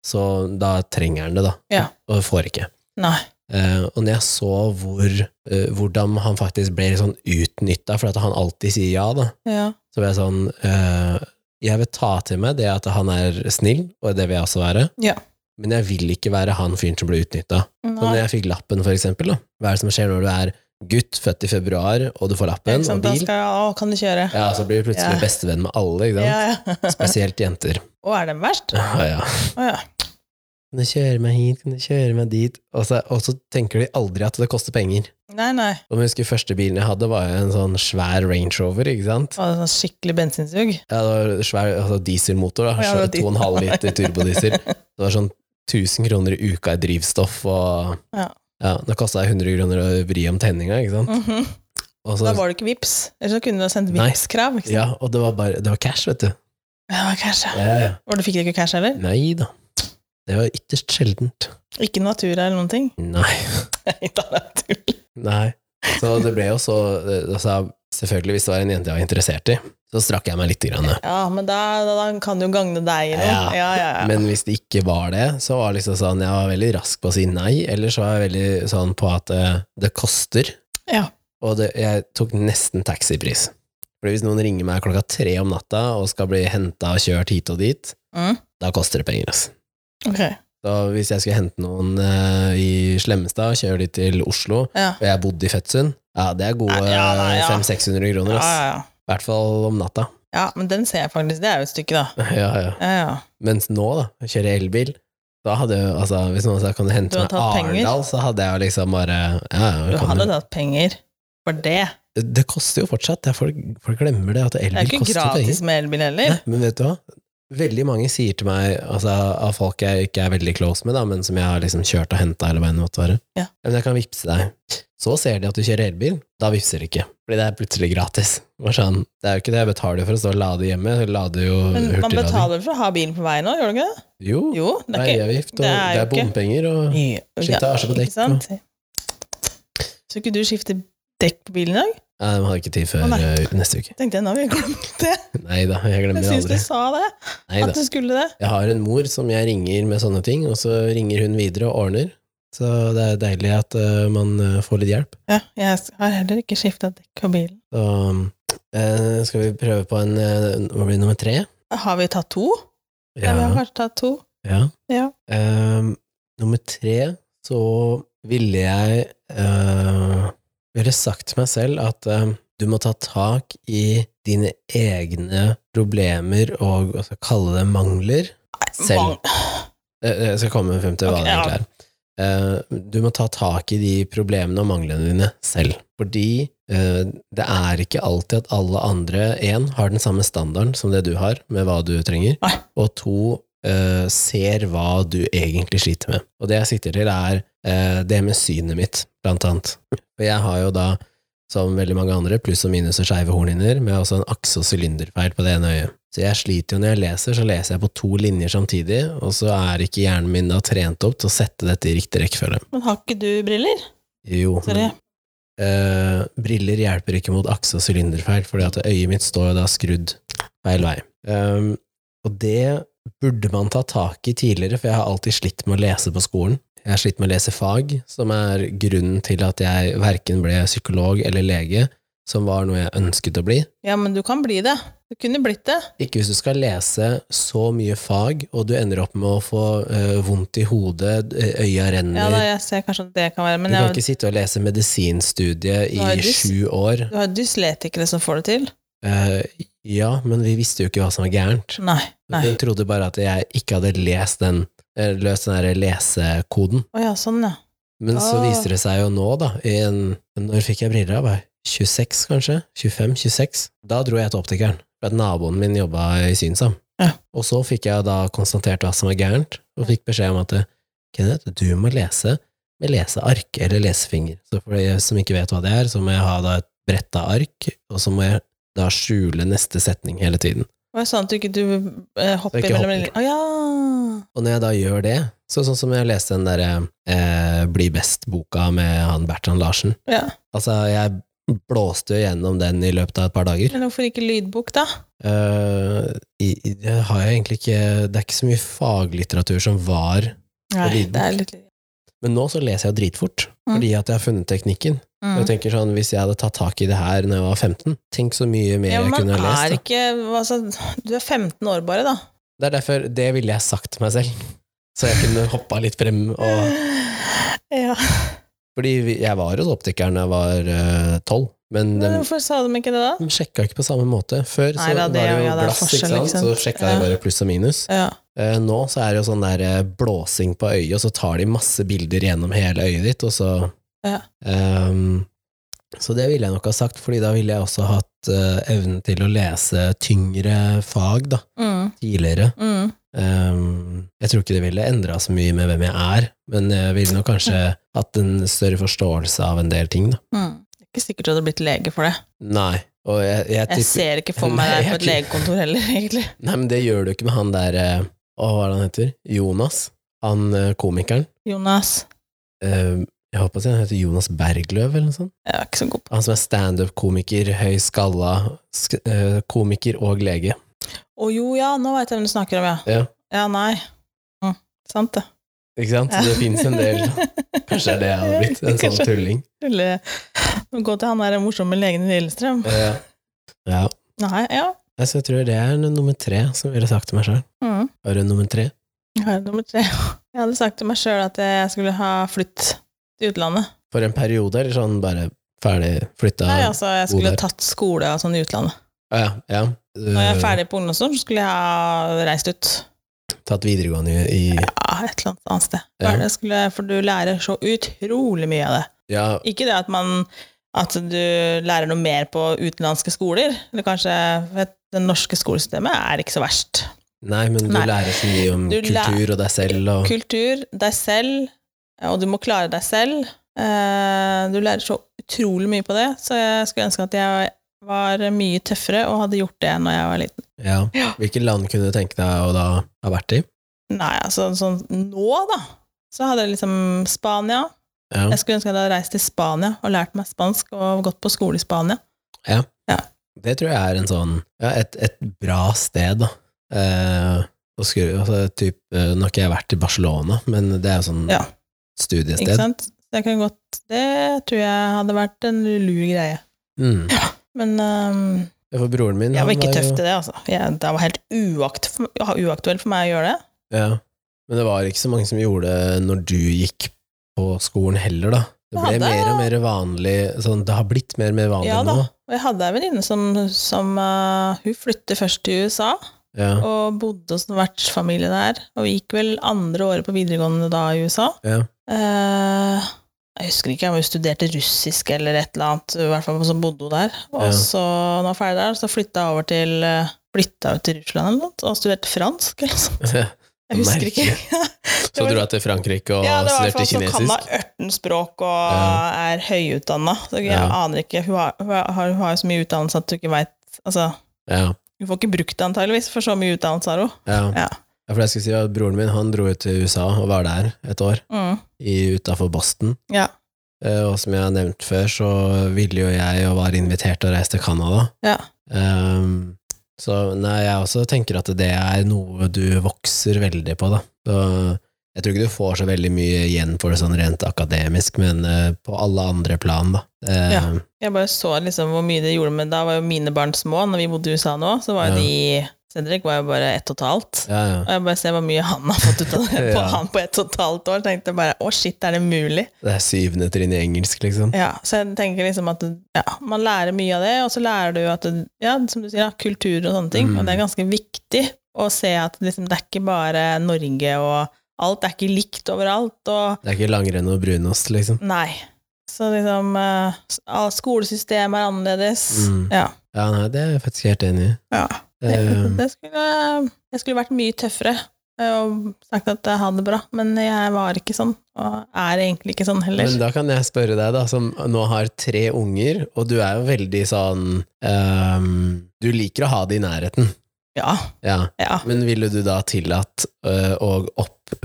Speaker 1: så da trenger han det, da.
Speaker 2: Ja.
Speaker 1: Og får ikke.
Speaker 2: Nei.
Speaker 1: Eh, og når jeg så hvor, eh, hvordan han faktisk ble litt sånn utnytta, for at han alltid sier ja, da,
Speaker 2: Ja.
Speaker 1: så ble jeg sånn eh, Jeg vil ta til meg det at han er snill, og det vil jeg også være,
Speaker 2: Ja.
Speaker 1: men jeg vil ikke være han fyren som blir utnytta. Så når
Speaker 2: Nei.
Speaker 1: jeg fikk lappen, for eksempel, da, hva er det som skjer når du er gutt, født i februar, og du får lappen
Speaker 2: Ikke sant,
Speaker 1: og
Speaker 2: da
Speaker 1: bil?
Speaker 2: skal jeg, å, kan du kjøre?
Speaker 1: Ja, så blir du plutselig
Speaker 2: Ja.
Speaker 1: bestevenn med alle, ikke sant?
Speaker 2: Ja, [LAUGHS] ja.
Speaker 1: Spesielt jenter.
Speaker 2: Å, er den verst?
Speaker 1: Ja, ja.
Speaker 2: Å ja.
Speaker 1: Kan du kjøre meg hit, kan du kjøre meg dit? Og så, og så tenker de aldri at det koster penger.
Speaker 2: Nei, nei.
Speaker 1: Og jeg husker første bilen jeg hadde var jo en sånn svær Range Rover, ikke sant?
Speaker 2: Var det sånn skikkelig bensinsug?
Speaker 1: Ja, det var svær altså dieselmotor, da.
Speaker 2: Ja, det var
Speaker 1: 2,5 liter
Speaker 2: [LAUGHS]
Speaker 1: turbodiesel. Det var sånn 1000 kroner i uka i drivstoff, og
Speaker 2: Ja.
Speaker 1: ja, det kosta 100 kroner å vri om tenninga, ikke sant?
Speaker 2: Mhm.
Speaker 1: Og så,
Speaker 2: Da var det ikke vips. Ellers så kunne du ha sendt
Speaker 1: Nei.
Speaker 2: vipskrav. Ikke sant?
Speaker 1: ja, og det var bare det var cash, vet du.
Speaker 2: Ja, det var cash, ja.
Speaker 1: Ja, ja.
Speaker 2: Og du fikk ikke cash heller?
Speaker 1: Nei da. Det var ytterst sjeldent.
Speaker 2: Ikke Natura eller noen ting? [LAUGHS]
Speaker 1: Nei.
Speaker 2: Nei, da er det tull.
Speaker 1: Nei. Så det ble jo så altså, Selvfølgelig, hvis det var en jente jeg var interessert i, så strakk jeg meg litt. Grann,
Speaker 2: Ja, men da, da, da kan det jo gagne deg eller
Speaker 1: Ja.
Speaker 2: noe. Ja, ja, ja.
Speaker 1: Men hvis det ikke var det, så var det liksom sånn, jeg var veldig rask på å si nei, eller så var jeg veldig sånn på at eh, det koster.
Speaker 2: Ja.
Speaker 1: Og det, jeg tok nesten taxipris. Fordi hvis noen ringer meg klokka tre om natta og skal bli henta og kjørt hit og dit,
Speaker 2: Mm.
Speaker 1: da koster det penger, altså.
Speaker 2: Ok.
Speaker 1: Så hvis jeg skulle hente noen eh, i Slemmestad og kjøre de til Oslo,
Speaker 2: Ja.
Speaker 1: og jeg bodde i Fettsund, ja, det er gode
Speaker 2: Ja, nei, ja.
Speaker 1: 500-600 kroner,
Speaker 2: Ja,
Speaker 1: ass.
Speaker 2: ja, ja.
Speaker 1: I hvert fall om natta. [LAUGHS]
Speaker 2: ja, men den ser jeg faktisk. Det er jo et stykke, da.
Speaker 1: Ja, ja.
Speaker 2: Ja, ja.
Speaker 1: Mens nå, da, jeg kjører elbil da hadde jeg, altså, Hvis noen sa kan du hente
Speaker 2: Du hadde
Speaker 1: meg
Speaker 2: tatt penger.
Speaker 1: Arendal, så hadde jeg jo liksom bare ja,
Speaker 2: Du
Speaker 1: jeg kan
Speaker 2: hadde
Speaker 1: jo-
Speaker 2: tatt penger for det.
Speaker 1: Det koster jo fortsatt. Det er folk, folk glemmer det, at
Speaker 2: Det er
Speaker 1: elbil
Speaker 2: jo ikke
Speaker 1: koster penger.
Speaker 2: gratis med elbil heller.
Speaker 1: Nei, men vet du hva? Veldig mange sier til meg, altså, av folk jeg ikke er veldig close med, da, men som jeg har liksom kjørt og henta, eller hva enn det måtte være
Speaker 2: Ja.
Speaker 1: Men jeg kan vippse deg. Så ser de at du kjører elbil, da vippser de ikke. Fordi det er plutselig gratis. Bare sånn, det er jo ikke det jeg betaler for å stå og lade hjemme. Jeg lader jo
Speaker 2: Men man
Speaker 1: hurtiglading.
Speaker 2: betaler for å ha bilen på veien nå, gjør du ikke det?
Speaker 1: Jo,
Speaker 2: Jo, det er ikke
Speaker 1: veiavgift, og
Speaker 2: det
Speaker 1: det
Speaker 2: er
Speaker 1: er,
Speaker 2: jo ikke-
Speaker 1: bompenger, og
Speaker 2: Ja,
Speaker 1: Slitasje på dekk,
Speaker 2: Ikke sant? Så ikke du skifter dekk på bilen i dag?
Speaker 1: Nei, de har ikke tid før
Speaker 2: Å, nei.
Speaker 1: eh, neste uke.
Speaker 2: Tenkte jeg, nå har vi glemt det.
Speaker 1: Nei da, jeg
Speaker 2: Jeg
Speaker 1: glemmer det
Speaker 2: syns du
Speaker 1: aldri.
Speaker 2: sa det.
Speaker 1: Nei
Speaker 2: At
Speaker 1: da.
Speaker 2: du skulle det.
Speaker 1: Jeg har en mor som jeg ringer med sånne ting, og så ringer hun videre og ordner. Så det er deilig at eh, man eh, får litt hjelp.
Speaker 2: Ja, jeg har heller ikke skifta dekk på bilen.
Speaker 1: Så eh, skal vi prøve på en eh, Hva blir det, nummer tre?
Speaker 2: Har vi tatt to? Ja, vi har kanskje tatt to.
Speaker 1: ja.
Speaker 2: Ja.
Speaker 1: Ehm, nummer tre så ville jeg eh, ville sagt til meg selv at eh, du må ta tak i dine egne problemer og hva skal jeg kalle det mangler. Selv. Eh, Jeg skal komme frem til hva
Speaker 2: Ok,
Speaker 1: det
Speaker 2: ja.
Speaker 1: egentlig er. Eh, Du må ta tak i de problemene og manglene dine selv. Fordi eh, det er ikke alltid at alle andre, én, har den samme standarden som det du har, med hva du trenger,
Speaker 2: Nei.
Speaker 1: og to, eh, ser hva du egentlig sliter med. Og det jeg sikter til, er eh, det med synet mitt, blant annet. For jeg har jo da, som veldig mange andre, pluss og minus og skeive hornhinner, med også en akse- og sylinderfeil på det ene øyet. Så jeg sliter jo når jeg leser, så leser jeg på to linjer samtidig, og så er ikke hjernen min da trent opp til å sette dette i riktig rekkefølge.
Speaker 2: Men har ikke du briller?
Speaker 1: Jo,
Speaker 2: Sorry.
Speaker 1: eh, briller hjelper ikke mot akse- og sylinderfeil, fordi at øyet mitt står jo da skrudd feil vei. Um, og det burde man ta tak i tidligere, for jeg har alltid slitt med å lese på skolen. Jeg har slitt med å lese fag, som er grunnen til at jeg verken ble psykolog eller lege, som var noe jeg ønsket å bli.
Speaker 2: Ja, men du kan bli det. Du kunne blitt det.
Speaker 1: Ikke hvis du skal lese så mye fag, og du ender opp med å få eh, vondt i hodet, eh, øya renner
Speaker 2: Ja, da, jeg ser kanskje at det kan være,
Speaker 1: Du
Speaker 2: men
Speaker 1: kan
Speaker 2: jeg,
Speaker 1: ikke sitte og lese medisinstudie
Speaker 2: Nå er
Speaker 1: i
Speaker 2: du s-
Speaker 1: sju år.
Speaker 2: du har dysletikere som får det til.
Speaker 1: Eh, ja, men vi visste jo ikke hva som var gærent.
Speaker 2: Nei. nei.
Speaker 1: Hun trodde bare at jeg ikke hadde lest den, eh, løst den der lesekoden.
Speaker 2: Å ja, sånn, ja.
Speaker 1: Men så
Speaker 2: Ah.
Speaker 1: viser det seg jo nå, da, i en, når fikk jeg briller av? Bare 26, kanskje? 25-26? Da dro jeg til optikeren, for at naboen min jobba i Synsam.
Speaker 2: Ja.
Speaker 1: Og så fikk jeg da konstatert hva som var gærent, og fikk beskjed om at Kenneth, du må lese med leseark eller lesefinger. Så for de som ikke vet hva det er, så må jeg ha da et bretta ark, og så må jeg da skjule neste setning hele tiden.
Speaker 2: Var det sånn at du ikke du, eh, hopper
Speaker 1: Ikke
Speaker 2: mellom
Speaker 1: hopper.
Speaker 2: Å ja.
Speaker 1: Og når jeg da gjør det, så sånn som jeg leste den derre eh, Bli best-boka med han Bertrand Larsen,
Speaker 2: ja.
Speaker 1: Altså, jeg blåste jo gjennom den i løpet av et par dager.
Speaker 2: Men hvorfor ikke lydbok, da?
Speaker 1: Eh, i, i, det har jeg egentlig ikke Det er ikke så mye faglitteratur som var
Speaker 2: Nei,
Speaker 1: lydbok.
Speaker 2: det er litt
Speaker 1: Men nå så leser jeg jo dritfort,
Speaker 2: Mm.
Speaker 1: fordi at jeg har funnet teknikken. Og
Speaker 2: mm.
Speaker 1: Jeg tenker sånn, Hvis jeg hadde tatt tak i det her når jeg var 15, tenk så mye mer
Speaker 2: Ja,
Speaker 1: jeg
Speaker 2: man
Speaker 1: kunne ha lest.
Speaker 2: er
Speaker 1: Da.
Speaker 2: ikke altså, Du er 15 år bare, da.
Speaker 1: Det er derfor det ville jeg sagt til meg selv. Så jeg kunne hoppa litt frem. Og,
Speaker 2: Ja.
Speaker 1: fordi vi- jeg var hos optikeren da jeg var eh, tolv, men
Speaker 2: Men
Speaker 1: den
Speaker 2: hvorfor sa de ikke det, da?
Speaker 1: de sjekka ikke på samme måte. Før
Speaker 2: Nei,
Speaker 1: så
Speaker 2: da, det
Speaker 1: var
Speaker 2: er
Speaker 1: det
Speaker 2: jo-
Speaker 1: jo
Speaker 2: ja, det er
Speaker 1: glass, ikke
Speaker 2: forskjell,
Speaker 1: sant?
Speaker 2: ikke sant?
Speaker 1: så sjekka de
Speaker 2: Ja.
Speaker 1: bare pluss og minus.
Speaker 2: Ja.
Speaker 1: Eh, Nå så er det jo sånn der eh, blåsing på øyet, og så tar de masse bilder gjennom hele øyet ditt, og så
Speaker 2: Ja.
Speaker 1: Ehm, Så det ville jeg nok ha sagt, fordi da ville jeg også hatt eh, evnen til å lese tyngre fag, da,
Speaker 2: Mm.
Speaker 1: tidligere.
Speaker 2: Mm.
Speaker 1: Ehm, jeg tror ikke det ville endra så mye med hvem jeg er, men jeg ville nok kanskje
Speaker 2: [LAUGHS]
Speaker 1: hatt en større forståelse av en del ting, da.
Speaker 2: Mm. Det er ikke sikkert du hadde blitt lege for det.
Speaker 1: Nei, og jeg, jeg
Speaker 2: Jeg
Speaker 1: tipper
Speaker 2: ser ikke for meg
Speaker 1: Nei,
Speaker 2: deg
Speaker 1: jeg
Speaker 2: på et
Speaker 1: tror-
Speaker 2: legekontor heller, [LAUGHS] egentlig.
Speaker 1: Nei, men det gjør du ikke med han der eh, Å, hva er det han heter? Jonas? Han eh, komikeren?
Speaker 2: Jonas.
Speaker 1: Eh, jeg håper å si han heter Jonas Bergløv eller noe sånt.
Speaker 2: Jeg er ikke så god på
Speaker 1: Han som er standup-komiker, høy skalla, sk eh, komiker og lege.
Speaker 2: Å jo, ja, nå veit jeg hvem du snakker om, ja.
Speaker 1: Ja.
Speaker 2: Ja, nei. Mm. Sant, det.
Speaker 1: Ikke sant?
Speaker 2: [LAUGHS]
Speaker 1: Det finnes en del. Kanskje det er det jeg hadde blitt, en sånn
Speaker 2: Kanskje.
Speaker 1: tulling.
Speaker 2: Skulle gå til han der morsomme legen i Lillestrøm.
Speaker 1: Eh, ja.
Speaker 2: Nei, ja.
Speaker 1: Nei, Så jeg tror det er nummer tre som jeg ville sagt til meg sjøl.
Speaker 2: Mm.
Speaker 1: Har du nummer tre?
Speaker 2: Jeg har nummer tre. Jeg hadde sagt til meg sjøl at jeg skulle ha flytt til utlandet.
Speaker 1: For en periode, eller sånn bare ferdig flytta?
Speaker 2: Nei, altså, jeg skulle
Speaker 1: Bodø.
Speaker 2: tatt skole og sånn i utlandet.
Speaker 1: Å ja, ja.
Speaker 2: Når jeg er
Speaker 1: Eh,
Speaker 2: ferdig på ungdomsskolen, så skulle jeg ha reist ut.
Speaker 1: Tatt videregående i, i
Speaker 2: Ja, et eller annet annet sted.
Speaker 1: Ja.
Speaker 2: Det skulle, for du lærer så utrolig mye av det.
Speaker 1: Ja,
Speaker 2: Ikke det at man at du lærer noe mer på utenlandske skoler, eller kanskje for at det norske skolesystemet er ikke så verst.
Speaker 1: nei, men du
Speaker 2: Nei.
Speaker 1: lærer så mye om
Speaker 2: Du læ-
Speaker 1: kultur og deg selv og
Speaker 2: Kultur, deg selv, og du må klare deg selv. Eh, Du lærer så utrolig mye på det, så jeg skulle ønske at jeg var mye tøffere og hadde gjort det når jeg var liten.
Speaker 1: ja.
Speaker 2: Ja.
Speaker 1: Hvilke land kunne du tenke deg å da ha vært i?
Speaker 2: Nei, altså sånn nå, da, så hadde jeg liksom Spania.
Speaker 1: Ja.
Speaker 2: Jeg skulle ønske at jeg hadde reist til Spania og lært meg spansk og gått på skole i Spania.
Speaker 1: Det tror jeg er en sånn, ja, et, et bra sted, da. Eh, og skulle, altså, typ, eh, nå har ikke jeg vært i Barcelona, men det er jo sånn
Speaker 2: Ja. Ikke
Speaker 1: studiested.
Speaker 2: sant? Så jeg kan godt, det tror jeg hadde vært en lur greie.
Speaker 1: Mm.
Speaker 2: Men øhm,
Speaker 1: Ja, For broren min
Speaker 2: jeg
Speaker 1: han
Speaker 2: var ikke tøff
Speaker 1: jo-
Speaker 2: til det, altså. Jeg, det var helt uakt, uaktuelt for meg å gjøre det.
Speaker 1: Ja. Men det var ikke så mange som gjorde det når du gikk på skolen heller, da. Det
Speaker 2: Ja,
Speaker 1: ble
Speaker 2: det-
Speaker 1: mer og mer vanlig, sånn, det har blitt mer og mer vanlig
Speaker 2: Ja da.
Speaker 1: nå.
Speaker 2: Og jeg hadde ei venninne som, som øh, Hun flyttet først til USA,
Speaker 1: Ja.
Speaker 2: og bodde hos en vertsfamilie der. Og gikk vel andre året på videregående da i USA.
Speaker 1: Ja.
Speaker 2: Eh, jeg husker ikke om hun studerte russisk eller et eller annet, i hvert fall så bodde hun der. Og
Speaker 1: Ja.
Speaker 2: så, når hun var ferdig der, så flytta hun over til eh, Flytta ut til Russland eller noe, og studerte fransk eller noe sånt. Jeg husker ikke.
Speaker 1: Så dro jeg til Frankrike og
Speaker 2: Ja, det var i hvert
Speaker 1: studerte
Speaker 2: fall sånn kan
Speaker 1: kinesisk.
Speaker 2: hun ørtenspråk og er høyutdanna. Så jeg
Speaker 1: Ja.
Speaker 2: aner ikke. Hun har, hun, har, hun har jo så mye utdannelse at du ikke veit Altså,
Speaker 1: Ja.
Speaker 2: hun får ikke brukt det antageligvis, for så mye utdannelse har hun.
Speaker 1: Ja.
Speaker 2: Ja.
Speaker 1: Ja, for jeg skulle si at Broren min han dro ut til USA og var der et år,
Speaker 2: Mm.
Speaker 1: utafor Boston.
Speaker 2: Ja.
Speaker 1: Eh, Og som jeg har nevnt før, så ville jo jeg og var invitert til å reise til Canada.
Speaker 2: Ja.
Speaker 1: Ehm, så nei, jeg også tenker at det er noe du vokser veldig på, da. Så jeg tror ikke du får så veldig mye igjen for det sånn rent akademisk, men eh, på alle andre plan, da. Eh,
Speaker 2: Ja. Jeg bare så liksom hvor mye det gjorde med Da var jo mine barn små, når vi bodde i USA nå, så var
Speaker 1: Ja.
Speaker 2: jo de Cedric var jo bare ett og et halvt.
Speaker 1: ja, ja.
Speaker 2: Og jeg bare ser hvor mye han har fått ut av det
Speaker 1: [LAUGHS]
Speaker 2: på
Speaker 1: Ja.
Speaker 2: han på ett og et halvt år. Tenkte jeg bare å shit, er det mulig?
Speaker 1: Det er syvende trinn i engelsk, liksom.
Speaker 2: Ja, så jeg tenker liksom at ja, man lærer mye av det, og så lærer du at ja, som du sier, ja, kultur og sånne ting,
Speaker 1: Mm.
Speaker 2: og det er ganske viktig å se at liksom, det er ikke bare Norge og alt er ikke likt overalt, og
Speaker 1: Det er ikke langrenn og brunost, liksom.
Speaker 2: nei. Så liksom eh, s- all- Skolesystemet er annerledes.
Speaker 1: Mm.
Speaker 2: Ja.
Speaker 1: Ja, nei, det er jeg faktisk helt enig i.
Speaker 2: ja. Det,
Speaker 1: Ehm,
Speaker 2: det skulle, jeg skulle vært mye tøffere eh, og sagt at jeg hadde det bra, men jeg var ikke sånn, og er egentlig ikke sånn heller.
Speaker 1: Men da kan jeg spørre deg, da, som nå har tre unger, og du er jo veldig sånn ehm, Du liker å ha det i nærheten.
Speaker 2: Ja,
Speaker 1: Ja.
Speaker 2: ja.
Speaker 1: Men ville du da tillatt øh, og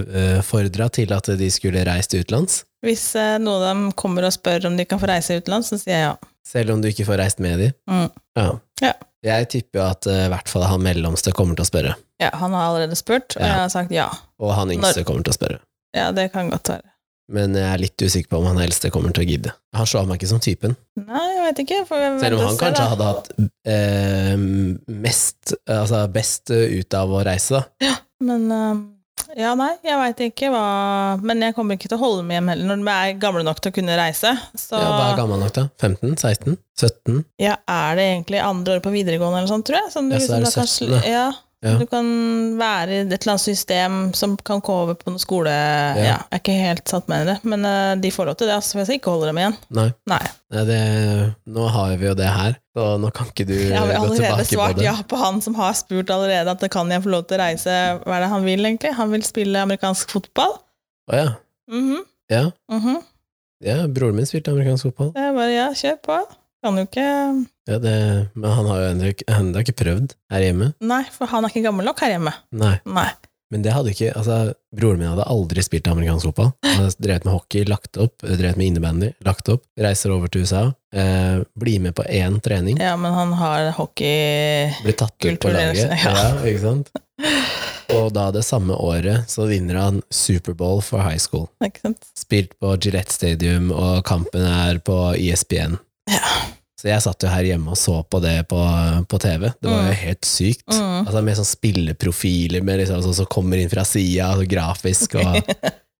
Speaker 1: oppfordra til at de skulle reist utenlands?
Speaker 2: Hvis eh, noen av dem kommer og spør om de kan få reise utenlands, så sier jeg ja.
Speaker 1: Selv om du ikke får reist med de?
Speaker 2: Mm.
Speaker 1: Ja.
Speaker 2: Ja.
Speaker 1: Jeg tipper jo at øh, i hvert fall han mellomste kommer til å spørre.
Speaker 2: Ja, han har allerede spurt, og
Speaker 1: Ja.
Speaker 2: jeg har sagt ja.
Speaker 1: Og han yngste kommer til å spørre.
Speaker 2: Ja, det kan godt være.
Speaker 1: Men jeg er litt usikker på om han eldste kommer til å gidde. Han slår meg ikke som typen.
Speaker 2: Nei, jeg vet ikke. Får vi
Speaker 1: Selv
Speaker 2: vente
Speaker 1: om
Speaker 2: og
Speaker 1: han
Speaker 2: se,
Speaker 1: kanskje
Speaker 2: da.
Speaker 1: hadde hatt eh, mest, altså best eh, ut av å reise, da.
Speaker 2: Men eh, ja, nei, jeg veit ikke hva Men jeg kommer ikke til å holde med hjem heller når de er gamle nok til å kunne reise. Så
Speaker 1: Ja, hva er gammel nok, da? 15? 16? 17?
Speaker 2: ja, er det egentlig andre året på videregående eller sånn, tror jeg? Som du,
Speaker 1: Ja, så er
Speaker 2: liksom,
Speaker 1: det
Speaker 2: da kan,
Speaker 1: 17,
Speaker 2: sl- ja,
Speaker 1: Ja.
Speaker 2: Du kan være i et eller annet system som kan gå over på noen skole ja. Jeg er ikke helt satt med i det, men eh, de får lov til det, altså, for jeg skal ikke holde dem igjen.
Speaker 1: Nei.
Speaker 2: Nei.
Speaker 1: Nei, det, nå har vi jo det her, så nå kan ikke du
Speaker 2: Jeg har
Speaker 1: eh, gå
Speaker 2: allerede
Speaker 1: tilbake på
Speaker 2: svart
Speaker 1: det.
Speaker 2: ja på han som har spurt allerede at kan jeg få lov til å reise Hva er det han vil, egentlig? Han vil spille amerikansk fotball?
Speaker 1: Å ja.
Speaker 2: Mhm,
Speaker 1: Ja.
Speaker 2: mhm.
Speaker 1: ja, broren min spilte amerikansk fotball.
Speaker 2: Det er bare ja, kjør på. Kan jo ikke
Speaker 1: Ja, det, men han har jo ennå ikke- ennå ikke prøvd her hjemme.
Speaker 2: Nei, for han er ikke gammel nok her hjemme.
Speaker 1: Nei,
Speaker 2: Nei.
Speaker 1: men det hadde ikke altså, Broren min hadde aldri spilt amerikansk fotball. Han hadde drevet med hockey, lagt opp, drevet med innebandy, lagt opp. Reiser over til USA, eh, blir med på én trening.
Speaker 2: Ja, men han har hockey
Speaker 1: Blir tatt ut på
Speaker 2: Kulturell,
Speaker 1: laget.
Speaker 2: ja.
Speaker 1: Ja. ikke sant? Og da det samme året så vinner han Superbowl for high school.
Speaker 2: Ikke sant?
Speaker 1: Spilt på Gillette Stadium, og kampen er på E ESPN. Så jeg satt jo her hjemme og så på det på, på TV. Det var
Speaker 2: Mm.
Speaker 1: jo helt sykt.
Speaker 2: Mm.
Speaker 1: Altså Med sånn spilleprofiler med liksom, sånn som kommer inn fra sida, altså grafisk,
Speaker 2: [LAUGHS]
Speaker 1: og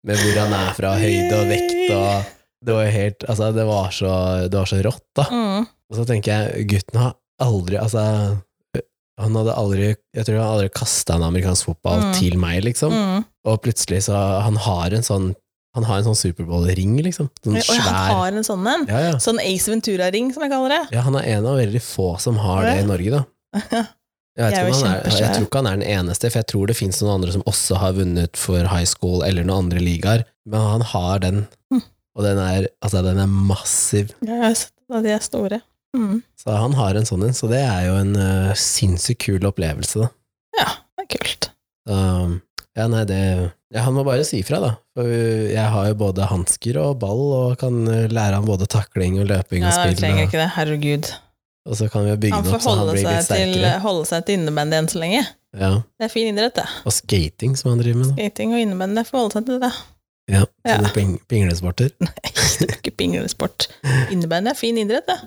Speaker 1: med hvor han er fra, høyde og vekt og Det var jo helt Altså, det var så, det var så rått, da.
Speaker 2: Mm.
Speaker 1: Og så tenker jeg, gutten har aldri Altså, han hadde aldri Jeg tror han aldri kasta en amerikansk fotball
Speaker 2: Mm.
Speaker 1: til meg, liksom.
Speaker 2: Mm.
Speaker 1: Og plutselig så Han har en sånn Han har en sånn Superbowl-ring, liksom. Sånn
Speaker 2: Og han
Speaker 1: svær
Speaker 2: har en sånn en.
Speaker 1: ja, ja.
Speaker 2: Sånn Ace Ventura-ring, som jeg kaller det.
Speaker 1: ja, han er en av veldig få som har det i
Speaker 2: [LAUGHS]
Speaker 1: Norge, da. Jeg,
Speaker 2: Det er
Speaker 1: vet ikke
Speaker 2: jo
Speaker 1: om han er,
Speaker 2: kjempesvær.
Speaker 1: jeg tror ikke han er den eneste, for jeg tror det fins noen andre som også har vunnet for high school eller noen andre ligaer, men han har den.
Speaker 2: Mm.
Speaker 1: Og den er, altså, den er massiv.
Speaker 2: Ja, jeg har sett at de er store. Mm.
Speaker 1: Så han har en sånn en, så det er jo en eh, sinnssykt kul opplevelse, da.
Speaker 2: Ja, det er kult.
Speaker 1: Så, ja, nei, det ja, Han må bare si fra, da. For uh, jeg har jo både hansker og ball, og kan uh, lære han både takling og løping og
Speaker 2: Ja, jeg
Speaker 1: spill.
Speaker 2: trenger
Speaker 1: Og,
Speaker 2: ikke det. Herregud.
Speaker 1: og så kan vi jo bygge
Speaker 2: Han
Speaker 1: den
Speaker 2: får
Speaker 1: opp så han
Speaker 2: holde
Speaker 1: blir
Speaker 2: seg,
Speaker 1: litt
Speaker 2: til, eh,
Speaker 1: sterkere.
Speaker 2: holde seg til innebandy enn så lenge.
Speaker 1: Ja.
Speaker 2: Det er fin idrett, det.
Speaker 1: Og skating, som han driver med. Da.
Speaker 2: Skating og innebandy får holde seg til det.
Speaker 1: Ja,
Speaker 2: Ja.
Speaker 1: Sånne ping pinglesporter.
Speaker 2: Ikke pinglesport. Innebandy er fin idrett, det.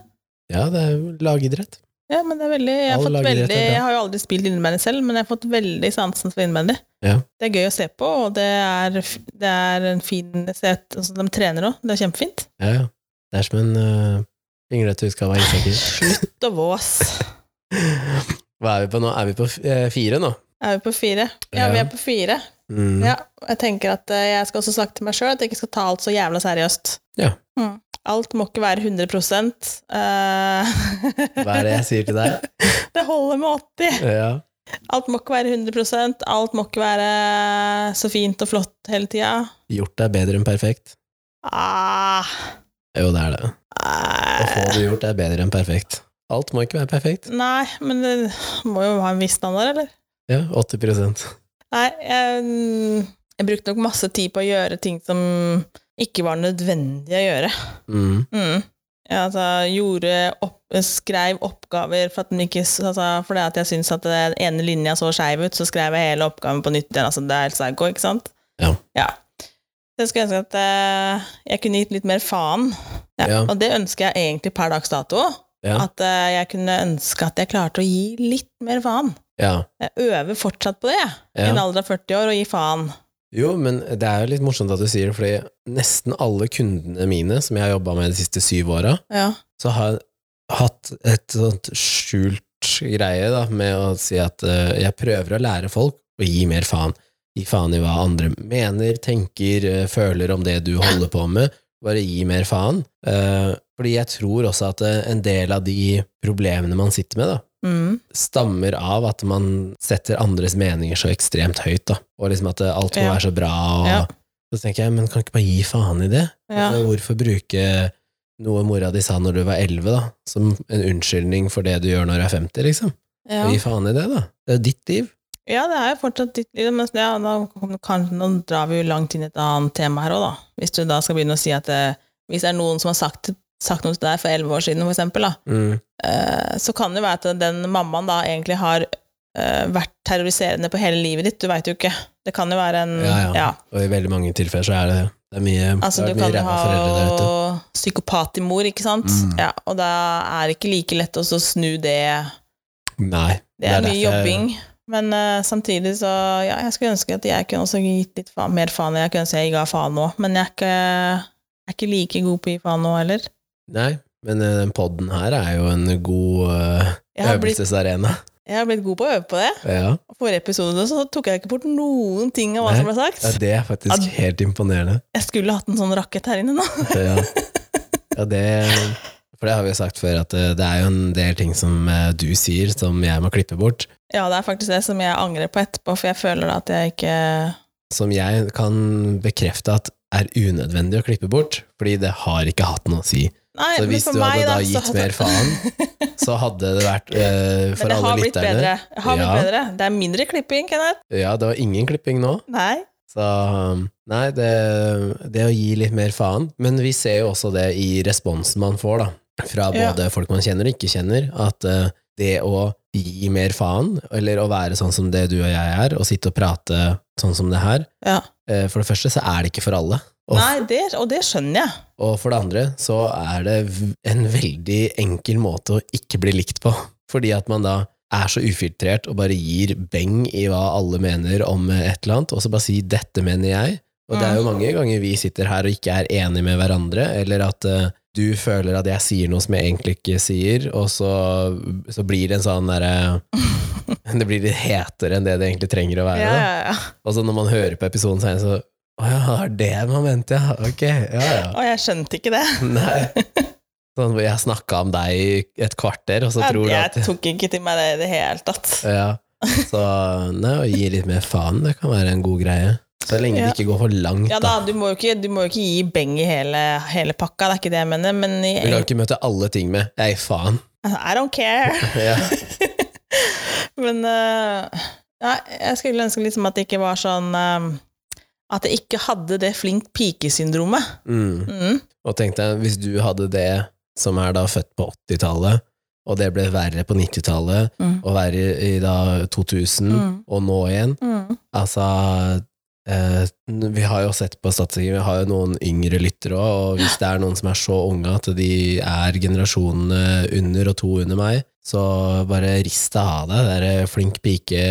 Speaker 1: Ja, det er jo lagidrett.
Speaker 2: Ja, men det er veldig, jeg, har
Speaker 1: All
Speaker 2: fått
Speaker 1: lagidrett er
Speaker 2: veldig,
Speaker 1: bra.
Speaker 2: jeg har jo aldri spilt innebandy selv, men jeg har fått veldig sansen for innebandy.
Speaker 1: Ja.
Speaker 2: Det er gøy å se på, og det er, f- det er en fin set, altså, De trener òg, det er kjempefint.
Speaker 1: Ja, ja. Det er som en uh, pinglete utgave
Speaker 2: [LAUGHS]
Speaker 1: av Isaker.
Speaker 2: Slutt å vås.
Speaker 1: Hva er vi på nå? Er vi på f- eh, fire nå?
Speaker 2: Er vi på fire? Ja,
Speaker 1: Ja.
Speaker 2: vi er på fire.
Speaker 1: Mm.
Speaker 2: Ja, jeg tenker at eh, jeg skal også snakke til meg sjøl at jeg ikke skal ta alt så jævla seriøst.
Speaker 1: Ja.
Speaker 2: Mm. Alt må ikke være 100 eh, [LAUGHS]
Speaker 1: Hva er det jeg sier til deg?
Speaker 2: Det holder med 80.
Speaker 1: Ja.
Speaker 2: Alt må ikke være 100 alt må ikke være så fint og flott hele tida.
Speaker 1: Gjort er bedre enn perfekt.
Speaker 2: Ah,
Speaker 1: Jo, det er det. Å
Speaker 2: eh,
Speaker 1: få det gjort er bedre enn perfekt. Alt må ikke være perfekt.
Speaker 2: nei, men det må jo ha en viss standard, eller?
Speaker 1: Ja, 80
Speaker 2: Nei, jeg, jeg brukte nok masse tid på å gjøre ting som ikke var nødvendig å gjøre.
Speaker 1: Mm.
Speaker 2: Mm. Jeg altså, gjorde opp, skrev oppgaver for at, den ikke, altså, fordi at jeg syntes at den ene linja så skeiv ut, så skrev jeg hele oppgaven på nytt igjen. Altså, det er helt psycho, ikke sant?
Speaker 1: Ja.
Speaker 2: Så jeg skulle ønske at eh, jeg kunne gitt litt mer faen. Ja.
Speaker 1: Ja.
Speaker 2: Og det ønsker jeg egentlig per dags dato.
Speaker 1: Ja.
Speaker 2: At eh, jeg kunne ønske at jeg klarte å gi litt mer faen.
Speaker 1: ja.
Speaker 2: Jeg øver fortsatt på det, i en
Speaker 1: ja.
Speaker 2: alder av 40 år, å gi faen.
Speaker 1: Jo, men det er jo litt morsomt at du sier det, fordi nesten alle kundene mine som jeg har jobba med de siste syv åra,
Speaker 2: Ja.
Speaker 1: så har jeg hatt et sånt skjult greie da, med å si at eh, jeg prøver å lære folk å gi mer faen. Gi faen i hva andre mener, tenker, eh, føler om det du holder på med. Bare gi mer faen. Eh, fordi jeg tror også at eh, en del av de problemene man sitter med, da,
Speaker 2: Mm.
Speaker 1: stammer av at man setter andres meninger så ekstremt høyt, da. Og liksom at eh, alt må
Speaker 2: Ja.
Speaker 1: være så bra, og
Speaker 2: Ja.
Speaker 1: så tenker jeg, men kan ikke bare gi faen i det?
Speaker 2: Ja.
Speaker 1: Altså, hvorfor bruke noe mora di sa når du var 11, da, som en unnskyldning for det du gjør når du er 50, liksom?
Speaker 2: Ja.
Speaker 1: Gi faen i det, da. Det er jo ditt liv.
Speaker 2: Ja, det er jo fortsatt ditt liv, men ja, da, kan, nå drar vi jo langt inn i et annet tema her òg, da. Hvis du da skal begynne å si at eh, hvis det er noen som har sagt, sagt noe til deg for elleve år siden, for eksempel, da,
Speaker 1: Mm.
Speaker 2: eh, så kan det jo være at den mammaen da egentlig har eh, vært terroriserende på hele livet ditt, du veit jo ikke. Det kan jo være en
Speaker 1: Ja, ja, Og i veldig mange tilfeller så er det det er mye,
Speaker 2: Altså,
Speaker 1: det
Speaker 2: du
Speaker 1: er mye
Speaker 2: kan
Speaker 1: ræva foreldre der ute.
Speaker 2: ha psykopatimor, ikke sant?
Speaker 1: Mm.
Speaker 2: Ja, og da er det ikke like lett også å snu det
Speaker 1: Nei.
Speaker 2: Det er, mye
Speaker 1: derfor jeg-
Speaker 2: jobbing, men eh, samtidig så Ja, jeg skulle ønske at jeg kunne også gitt litt faen, mer faen. Jeg kunne ønske jeg ga faen nå, men jeg er ikke, jeg er ikke like god på å gi faen nå heller.
Speaker 1: Nei, men eh, den podden her er jo en god eh,
Speaker 2: Jeg har, blitt,
Speaker 1: øvelsesarena.
Speaker 2: jeg har blitt god på å øve på det.
Speaker 1: Ja.
Speaker 2: Og Forrige episode så tok jeg ikke bort noen ting av hva
Speaker 1: Nei.
Speaker 2: som ble
Speaker 1: Ja,
Speaker 2: sagt.
Speaker 1: det er faktisk
Speaker 2: Ad-
Speaker 1: helt imponerende.
Speaker 2: Jeg skulle hatt en sånn rakett her inne nå. [LAUGHS]
Speaker 1: Ja. ja, det For det har vi jo sagt før, at eh, det er jo en del ting som eh, du sier som jeg må klippe bort.
Speaker 2: Ja, det er faktisk det som jeg angrer på etterpå, for jeg føler at jeg ikke
Speaker 1: Som jeg kan bekrefte at er unødvendig å klippe bort, fordi det har ikke hatt noe å si.
Speaker 2: Nei,
Speaker 1: Så
Speaker 2: men
Speaker 1: hvis
Speaker 2: for
Speaker 1: du hadde
Speaker 2: meg
Speaker 1: da
Speaker 2: så-
Speaker 1: gitt mer
Speaker 2: [LAUGHS]
Speaker 1: faen, så hadde det vært eh, for
Speaker 2: Men det
Speaker 1: alle
Speaker 2: har blitt
Speaker 1: lytterne
Speaker 2: bedre. Det har blitt
Speaker 1: Ja.
Speaker 2: bedre. Det er mindre klipping, Kenneth.
Speaker 1: Ja, det var ingen klipping nå.
Speaker 2: Nei.
Speaker 1: Så um, nei, det, det å gi litt mer faen. Men vi ser jo også det i responsen man får, da. Fra
Speaker 2: Ja.
Speaker 1: både folk man kjenner og ikke kjenner, at eh, det å gi mer faen, eller å være sånn som det du og jeg er, og sitte og prate sånn som det her,
Speaker 2: Ja.
Speaker 1: eh, for det første så er det ikke for alle. Og,
Speaker 2: Nei, det, og det skjønner jeg.
Speaker 1: og for det andre så er det v- en veldig enkel måte å ikke bli likt på. Fordi at man da er så ufiltrert og bare gir beng i hva alle mener om eh, et eller annet, og så bare si 'dette mener jeg'. Og det
Speaker 2: Mm.
Speaker 1: er jo mange ganger vi sitter her og ikke er enige med hverandre, eller at eh, du føler at jeg sier noe som jeg egentlig ikke sier, og så, så blir det en sånn
Speaker 2: [LAUGHS]
Speaker 1: derre [LAUGHS] Det blir litt hetere enn det det egentlig trenger å være.
Speaker 2: Ja,
Speaker 1: da.
Speaker 2: ja, ja.
Speaker 1: Og så når man hører på episoden senere, så sånn, Å ja, det var det man mente, ja. Ok, ja ja.
Speaker 2: Og jeg skjønte ikke det.
Speaker 1: [LAUGHS] Nei. Sånn, hvor jeg snakka om deg i et kvarter, og så
Speaker 2: Jeg,
Speaker 1: tror du at
Speaker 2: jeg tok ikke til meg det i det hele tatt.
Speaker 1: ja. Så nei, å gi litt mer faen, det kan være en god greie. Så lenge
Speaker 2: Ja.
Speaker 1: det ikke går for langt,
Speaker 2: Ja da,
Speaker 1: da.
Speaker 2: du må jo ikke, du må jo ikke gi beng i hele, hele pakka, det er ikke det jeg mener, men i,
Speaker 1: Du kan ikke møte alle ting med 'ei, faen'. [LAUGHS]
Speaker 2: I don't care.
Speaker 1: Ja.
Speaker 2: Men eh, ja, jeg skulle ønske liksom at det ikke var sånn eh, At jeg ikke hadde det flink pike-syndromet.
Speaker 1: Mm.
Speaker 2: Mm.
Speaker 1: Og tenk deg, hvis du hadde det som er da født på 80-tallet, og det ble verre på 90-tallet,
Speaker 2: Mm.
Speaker 1: og verre i, i da 2000,
Speaker 2: Mm.
Speaker 1: og nå igjen,
Speaker 2: Mm.
Speaker 1: Altså eh, Vi har jo sett på statistikken, vi har jo noen yngre lyttere òg, og hvis det er noen som er så unge at de er generasjonene under og to under meg, så bare rist det av deg, det derre flink pike,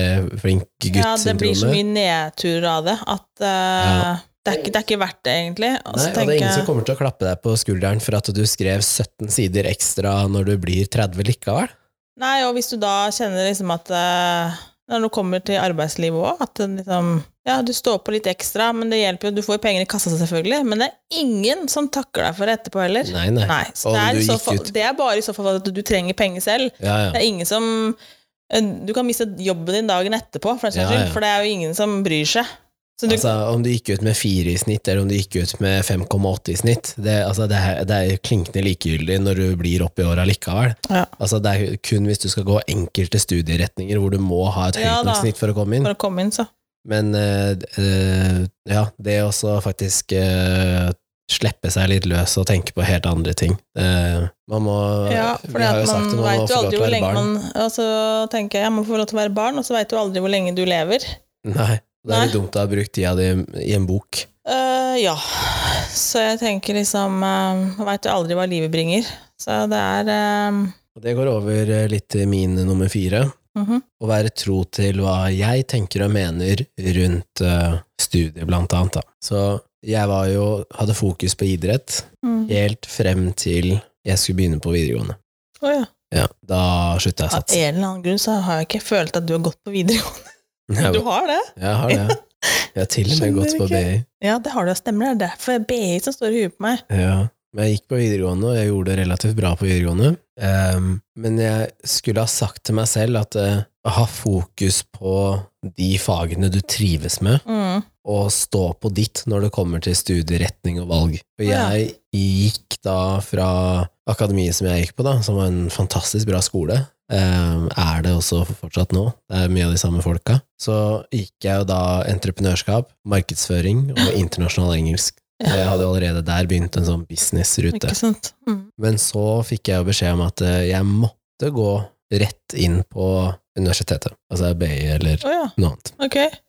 Speaker 1: flink
Speaker 2: Ja, det blir så
Speaker 1: gutt-syndromet.
Speaker 2: mye nedturer av det at eh, det, er ikke, det er ikke verdt det, egentlig. Og
Speaker 1: Nei,
Speaker 2: så
Speaker 1: og det
Speaker 2: tenker
Speaker 1: er ingen
Speaker 2: jeg-
Speaker 1: som kommer til å klappe deg på skulderen for at du skrev 17 sider ekstra når du blir 30 likevel.
Speaker 2: Nei, og hvis du da kjenner liksom at eh, når du kommer til arbeidslivet òg, at det liksom Ja, du står på litt ekstra, men det hjelper jo. Du får jo penger i kassa, selvfølgelig, men det er ingen som takker deg for det etterpå heller.
Speaker 1: Nei, nei.
Speaker 2: Nei, så
Speaker 1: Og om
Speaker 2: det er,
Speaker 1: du
Speaker 2: i så
Speaker 1: gikk
Speaker 2: fall,
Speaker 1: ut-
Speaker 2: det er bare i så fall at du trenger penger selv.
Speaker 1: Ja,
Speaker 2: Det
Speaker 1: ja.
Speaker 2: er ingen som eh, Du kan miste jobben din dagen etterpå, for, den saks
Speaker 1: Ja, ja.
Speaker 2: skyld, for det er jo ingen som bryr seg. Så du,
Speaker 1: Altså, om du gikk ut med 4 i snitt, eller om du gikk ut med 5,8 i snitt, det, altså, det, er, det er klinkende likegyldig når du blir opp i åra likevel.
Speaker 2: Ja.
Speaker 1: Altså, det er kun hvis du skal gå enkelte studieretninger hvor du må ha et høyt
Speaker 2: Ja, da.
Speaker 1: nok snitt for å komme inn.
Speaker 2: for å komme inn, så
Speaker 1: Men eh, eh, ja, det er også faktisk eh, slippe seg litt løs og tenke på helt andre ting. Eh, man må
Speaker 2: Ja, for
Speaker 1: vi har jo sagt
Speaker 2: man
Speaker 1: det, man må
Speaker 2: vet
Speaker 1: få
Speaker 2: jo
Speaker 1: lov
Speaker 2: aldri
Speaker 1: til å
Speaker 2: hvor
Speaker 1: være
Speaker 2: lenge
Speaker 1: barn.
Speaker 2: man Og så tenker jeg ja, man får lov til å være barn, og så veit du aldri hvor lenge du lever.
Speaker 1: Nei, det er
Speaker 2: Nei.
Speaker 1: litt dumt å ha brukt tida di i en bok.
Speaker 2: Eh, ja. Så jeg tenker liksom eh, Man veit jo aldri hva livet bringer. Så det er eh,
Speaker 1: Og det går over eh, litt til min nummer fire.
Speaker 2: mhm.
Speaker 1: Å være tro til hva jeg tenker og mener rundt eh, studiet, blant annet. Da. Så jeg var jo, hadde fokus på idrett
Speaker 2: mm.
Speaker 1: helt frem til jeg skulle begynne på videregående.
Speaker 2: Å, ja.
Speaker 1: Ja, da slutta jeg å
Speaker 2: Av
Speaker 1: satse.
Speaker 2: en eller annen grunn så har jeg ikke følt at du har gått på videregående. Ah, [LAUGHS] Du
Speaker 1: Jeg,
Speaker 2: har det?
Speaker 1: jeg har det. Jeg har til og med
Speaker 2: Skjønner
Speaker 1: gått på
Speaker 2: ikke.
Speaker 1: BI.
Speaker 2: Ja, det har du, stemmer det. Det er derfor det er BI som står i huet på meg.
Speaker 1: Ja. Men jeg gikk på videregående, og jeg gjorde det relativt bra på videregående. Ehm, men jeg skulle ha sagt til meg selv at eh, ha fokus på de fagene du trives med,
Speaker 2: Mm.
Speaker 1: og stå på ditt når det kommer til studieretning og valg. For
Speaker 2: Ja.
Speaker 1: jeg gikk da fra akademiet som jeg gikk på, da, som var en fantastisk bra skole. eh, er det også fortsatt nå. Det er mye av de samme folka. Så gikk jeg jo da entreprenørskap, markedsføring og internasjonal engelsk.
Speaker 2: Ja.
Speaker 1: Jeg hadde jo allerede der begynt en sånn businessrute.
Speaker 2: Ikke sant? Mm.
Speaker 1: Men så fikk jeg jo beskjed om at eh, jeg måtte gå rett inn på universitetet. Altså BI eller
Speaker 2: Å ja,
Speaker 1: noe annet
Speaker 2: ok.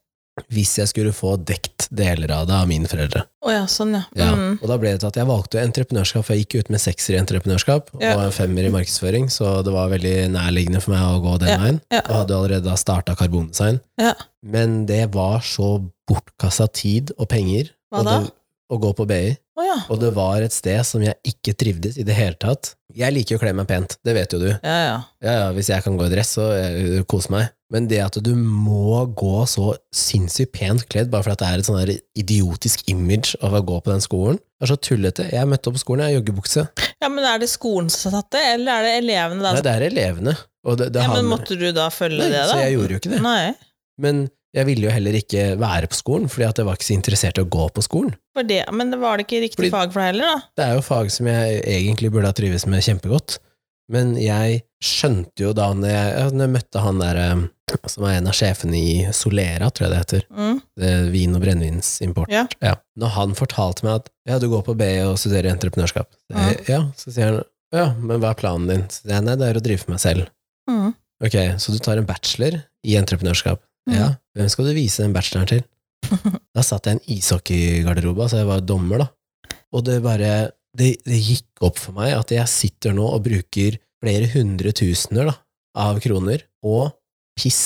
Speaker 1: hvis jeg skulle få dekt deler av det av mine foreldre.
Speaker 2: Å ja, sånn ja.
Speaker 1: Ja.
Speaker 2: Mm.
Speaker 1: Og da ble det til at jeg valgte entreprenørskap, for jeg gikk ut med sekser i entreprenørskap
Speaker 2: Ja.
Speaker 1: og en femmer i markedsføring, så det var veldig nærliggende for meg å gå den
Speaker 2: Ja,
Speaker 1: veien.
Speaker 2: ja.
Speaker 1: Og hadde allerede da starta karbondesign.
Speaker 2: Ja.
Speaker 1: Men det var så bortkasta tid og penger
Speaker 2: Hva
Speaker 1: og
Speaker 2: da?
Speaker 1: det, å gå på BI,
Speaker 2: Å ja.
Speaker 1: og det var et sted som jeg ikke trivdes i det hele tatt. Jeg liker jo å kle meg pent, det vet jo du.
Speaker 2: Ja, ja.
Speaker 1: Ja, ja, hvis jeg kan gå i dress, så eh, kos meg. Men det at du må gå så sinnssykt pent kledd bare fordi det er et sånn der idiotisk image av å gå på den skolen, er så tullete. Jeg møtte opp på skolen, jeg har joggebukse.
Speaker 2: Ja, men er det skolen som har tatt det, eller er det elevene da?
Speaker 1: Nei, det er elevene. Og det, det
Speaker 2: ja,
Speaker 1: har
Speaker 2: men
Speaker 1: med-
Speaker 2: måtte du da følge
Speaker 1: Nei,
Speaker 2: det, da?
Speaker 1: Så jeg gjorde jo ikke det.
Speaker 2: Nei,
Speaker 1: Men jeg ville jo heller ikke være på skolen, fordi at jeg var ikke så interessert i å gå på skolen.
Speaker 2: for det, men det var det ikke
Speaker 1: Fordi-
Speaker 2: riktig fag for deg heller, da?
Speaker 1: Det er jo fag som jeg egentlig burde ha trives med kjempegodt, men jeg skjønte jo da når jeg, ja, når jeg møtte han der eh, som er en av sjefene i Solera, tror jeg det heter.
Speaker 2: Mm.
Speaker 1: eh, vin- og brennevinsimport.
Speaker 2: Ja.
Speaker 1: Når han fortalte meg at ja, du går på BI og studerer entreprenørskap, så, jeg, ja. så sier han ja, men hva er planen din? Så sier jeg nei, det er å drive for meg selv.
Speaker 2: Mm.
Speaker 1: Ok, så du tar en bachelor i entreprenørskap.
Speaker 2: Mhm.
Speaker 1: Ja, hvem skal du vise den bacheloren til? da satt jeg i en ishockeygarderobe, altså jeg var dommer da. Og det bare, det, det gikk opp for meg at jeg sitter nå og bruker flere hundre tusener da, av kroner, og piss.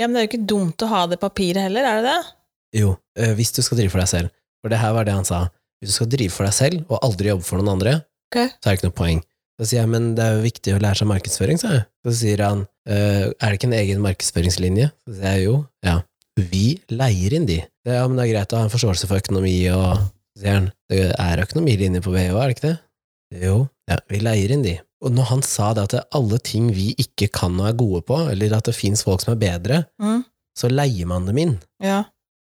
Speaker 2: Ja, men det er jo ikke dumt å ha det papiret heller, er det det?
Speaker 1: Jo, eh, hvis du skal drive for deg selv. For det her var det han sa. Hvis du skal drive for deg selv, og aldri jobbe for noen andre,
Speaker 2: Ok.
Speaker 1: så er det ikke noe poeng. Så sier jeg, men det er jo viktig å lære seg markedsføring, sa jeg. Så sier han, eh, er det ikke en egen markedsføringslinje? Så sier jeg, jo, ja. Vi leier inn de. Det, ja, men det er greit å ha en forståelse for økonomi og Så sier han, det er økonomilinje på BH, er det ikke det? Jo, ja, vi leier inn de. Og når han sa det at alle ting vi ikke kan og er gode på, eller at det finnes folk som er bedre,
Speaker 2: Mm.
Speaker 1: så leier man dem inn.
Speaker 2: Ja.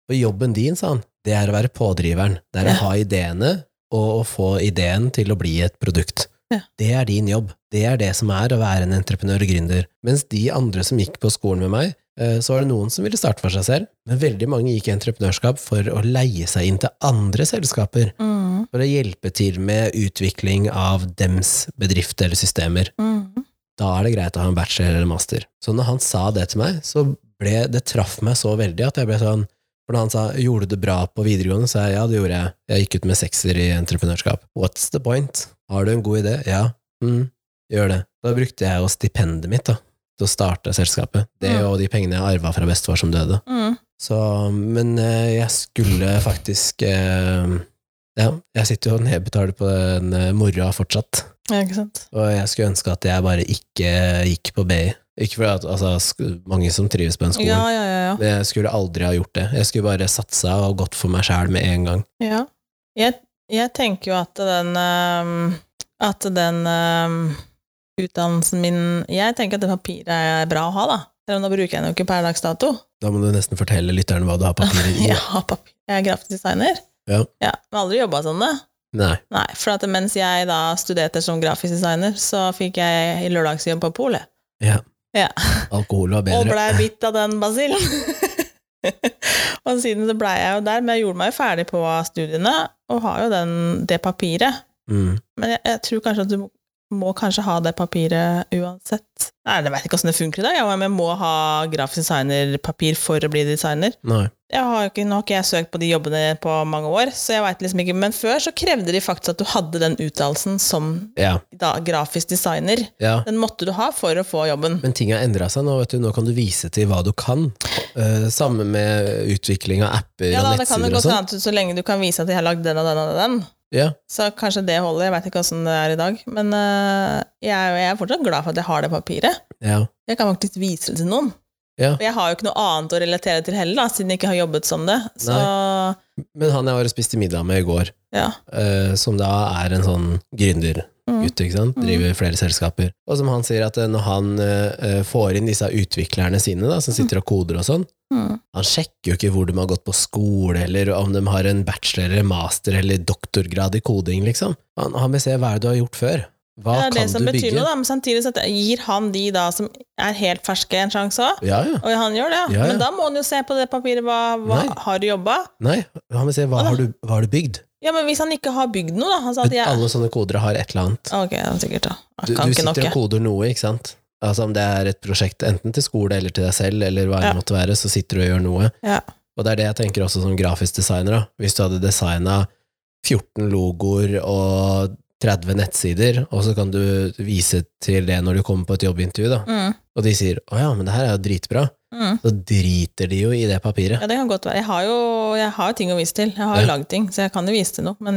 Speaker 1: For jobben din, sa han, det er å være pådriveren. Det er
Speaker 2: Ja.
Speaker 1: å ha ideene, og å få ideen til å bli et produkt.
Speaker 2: Ja.
Speaker 1: Det er din jobb. Det er det som er å være en entreprenør og gründer. Mens de andre som gikk på skolen med meg, eh, så var det noen som ville starte for seg selv, men veldig mange gikk i entreprenørskap for å leie seg inn til andre selskaper.
Speaker 2: Mm.
Speaker 1: For å hjelpe til med utvikling av dems bedrifter eller systemer
Speaker 2: Mm.
Speaker 1: da er det greit å ha en bachelor eller master. Så når han sa det til meg, så ble det traff meg så veldig at jeg ble sånn For da han sa 'gjorde du det bra på videregående', sa jeg ja, det gjorde jeg. Jeg gikk ut med sekser i entreprenørskap. What's the point? Har du en god idé? Ja. Mm, gjør det. Da brukte jeg jo stipendet mitt da, til å starte selskapet. Det
Speaker 2: Mm.
Speaker 1: og de pengene jeg arva fra bestefar som døde.
Speaker 2: Mm.
Speaker 1: Så, men eh, jeg skulle faktisk eh, Ja, jeg sitter jo og nedbetaler på den eh, moroa fortsatt.
Speaker 2: Ja, ikke sant.
Speaker 1: Og jeg skulle ønske at jeg bare ikke gikk på BI. Ikke fordi at altså, sk- mange som trives på en skole.
Speaker 2: Ja, ja, ja, ja.
Speaker 1: Men jeg skulle aldri ha gjort det. Jeg skulle bare satsa og gått for meg sjæl med en gang.
Speaker 2: Ja. Jeg, jeg tenker jo at den ehm, At den ehm, utdannelsen min Jeg tenker at det papiret er bra å ha, da. Selv om da bruker jeg den jo ikke per dags dato.
Speaker 1: Da må du nesten fortelle lytteren hva du
Speaker 2: [LAUGHS]
Speaker 1: har papirer i.
Speaker 2: Jeg har papir. Jeg er grafisk designer.
Speaker 1: Ja.
Speaker 2: Men aldri jobba som det.
Speaker 1: Nei.
Speaker 2: Nei, for at mens jeg da studerte som grafisk designer, så fikk jeg lørdagsjobb på polet.
Speaker 1: Ja.
Speaker 2: Ja.
Speaker 1: Alkohol var
Speaker 2: Og
Speaker 1: bedre.
Speaker 2: blei bitt av den basillen. [LAUGHS] Og siden så blei jeg jo der, men jeg gjorde meg jo ferdig på studiene, og har jo den, det papiret.
Speaker 1: Mm.
Speaker 2: Men jeg, jeg tror kanskje at du må, må kanskje ha det papiret uansett. Nei, jeg veit ikke åssen det funker i dag, jeg, men jeg må ha grafisk designerpapir for å bli designer.
Speaker 1: Nei.
Speaker 2: Jeg har jo ikke, nå har ikke jeg søkt på de jobbene på mange år, så jeg vet liksom ikke. Men før så krevde de faktisk at du hadde den utdannelsen som
Speaker 1: Ja.
Speaker 2: da, grafisk designer.
Speaker 1: ja.
Speaker 2: Den måtte du ha for å få jobben.
Speaker 1: Men ting har endra seg nå. vet du. Nå kan du vise til hva du kan. Eh, samme med utvikling av apper
Speaker 2: Ja, da,
Speaker 1: og
Speaker 2: det kan jo
Speaker 1: nettsider og
Speaker 2: godt
Speaker 1: sånn.
Speaker 2: hende at så lenge du kan vise at jeg har lagd den og den og den,
Speaker 1: Ja.
Speaker 2: så kanskje det holder. Jeg veit ikke åssen det er i dag. Men øh, jeg, er jo- jeg er fortsatt glad for at jeg har det papiret.
Speaker 1: Ja.
Speaker 2: Jeg kan faktisk vise det til noen.
Speaker 1: Ja.
Speaker 2: Og jeg har jo ikke noe annet å relatere til heller, da, siden jeg ikke har jobbet som det. Så
Speaker 1: Men han jeg var og spiste middag med i går,
Speaker 2: ja.
Speaker 1: eh, som da er en sånn gründergutt,
Speaker 2: Mm.
Speaker 1: ikke sant? driver flere selskaper, og som han sier at eh, når han eh, eh, får inn disse utviklerne sine, da, som sitter og koder og sånn,
Speaker 2: Mm.
Speaker 1: han sjekker jo ikke hvor de har gått på skole, eller om de har en bachelor, eller master eller doktorgrad i koding, liksom. Han, han vil se hva er det du har gjort før. Hva
Speaker 2: Det er det
Speaker 1: kan
Speaker 2: som
Speaker 1: du
Speaker 2: betyr
Speaker 1: bygge?
Speaker 2: noe, da. Men samtidig så at jeg gir han de da som er helt ferske, en sjanse òg.
Speaker 1: Ja, ja.
Speaker 2: Og han gjør det, ja.
Speaker 1: Ja, ja.
Speaker 2: Men da må han jo se på det papiret. Hva, hva
Speaker 1: Nei.
Speaker 2: har du jobba?
Speaker 1: Nei, han vil se hva
Speaker 2: Hva da?
Speaker 1: har du, hva har du bygd?
Speaker 2: Ja, men hvis han ikke har bygd noe, da Han sa at jeg
Speaker 1: Alle sånne kodere har et eller annet.
Speaker 2: Ok, ja, sikkert, da.
Speaker 1: Du,
Speaker 2: Jeg
Speaker 1: du
Speaker 2: kan ikke
Speaker 1: sitter
Speaker 2: nok,
Speaker 1: og
Speaker 2: jeg.
Speaker 1: koder noe, ikke sant? Altså Om det er et prosjekt enten til skole eller til deg selv, eller hva det
Speaker 2: Ja.
Speaker 1: måtte være, så sitter du og gjør noe.
Speaker 2: Ja.
Speaker 1: Og det er det jeg tenker også som grafisk designer. da. Hvis du hadde designa 14 logoer og 30 nettsider, og så kan du vise til det når du kommer på et jobbintervju, da.
Speaker 2: Mm.
Speaker 1: og de sier 'Å ja, men det her er jo dritbra',
Speaker 2: Mm.
Speaker 1: så driter de jo i det papiret.
Speaker 2: Ja, det kan godt være. Jeg har jo jeg har jo ting å vise til. Jeg har jo
Speaker 1: Ja.
Speaker 2: lagd ting, så jeg kan jo vise til noe. Men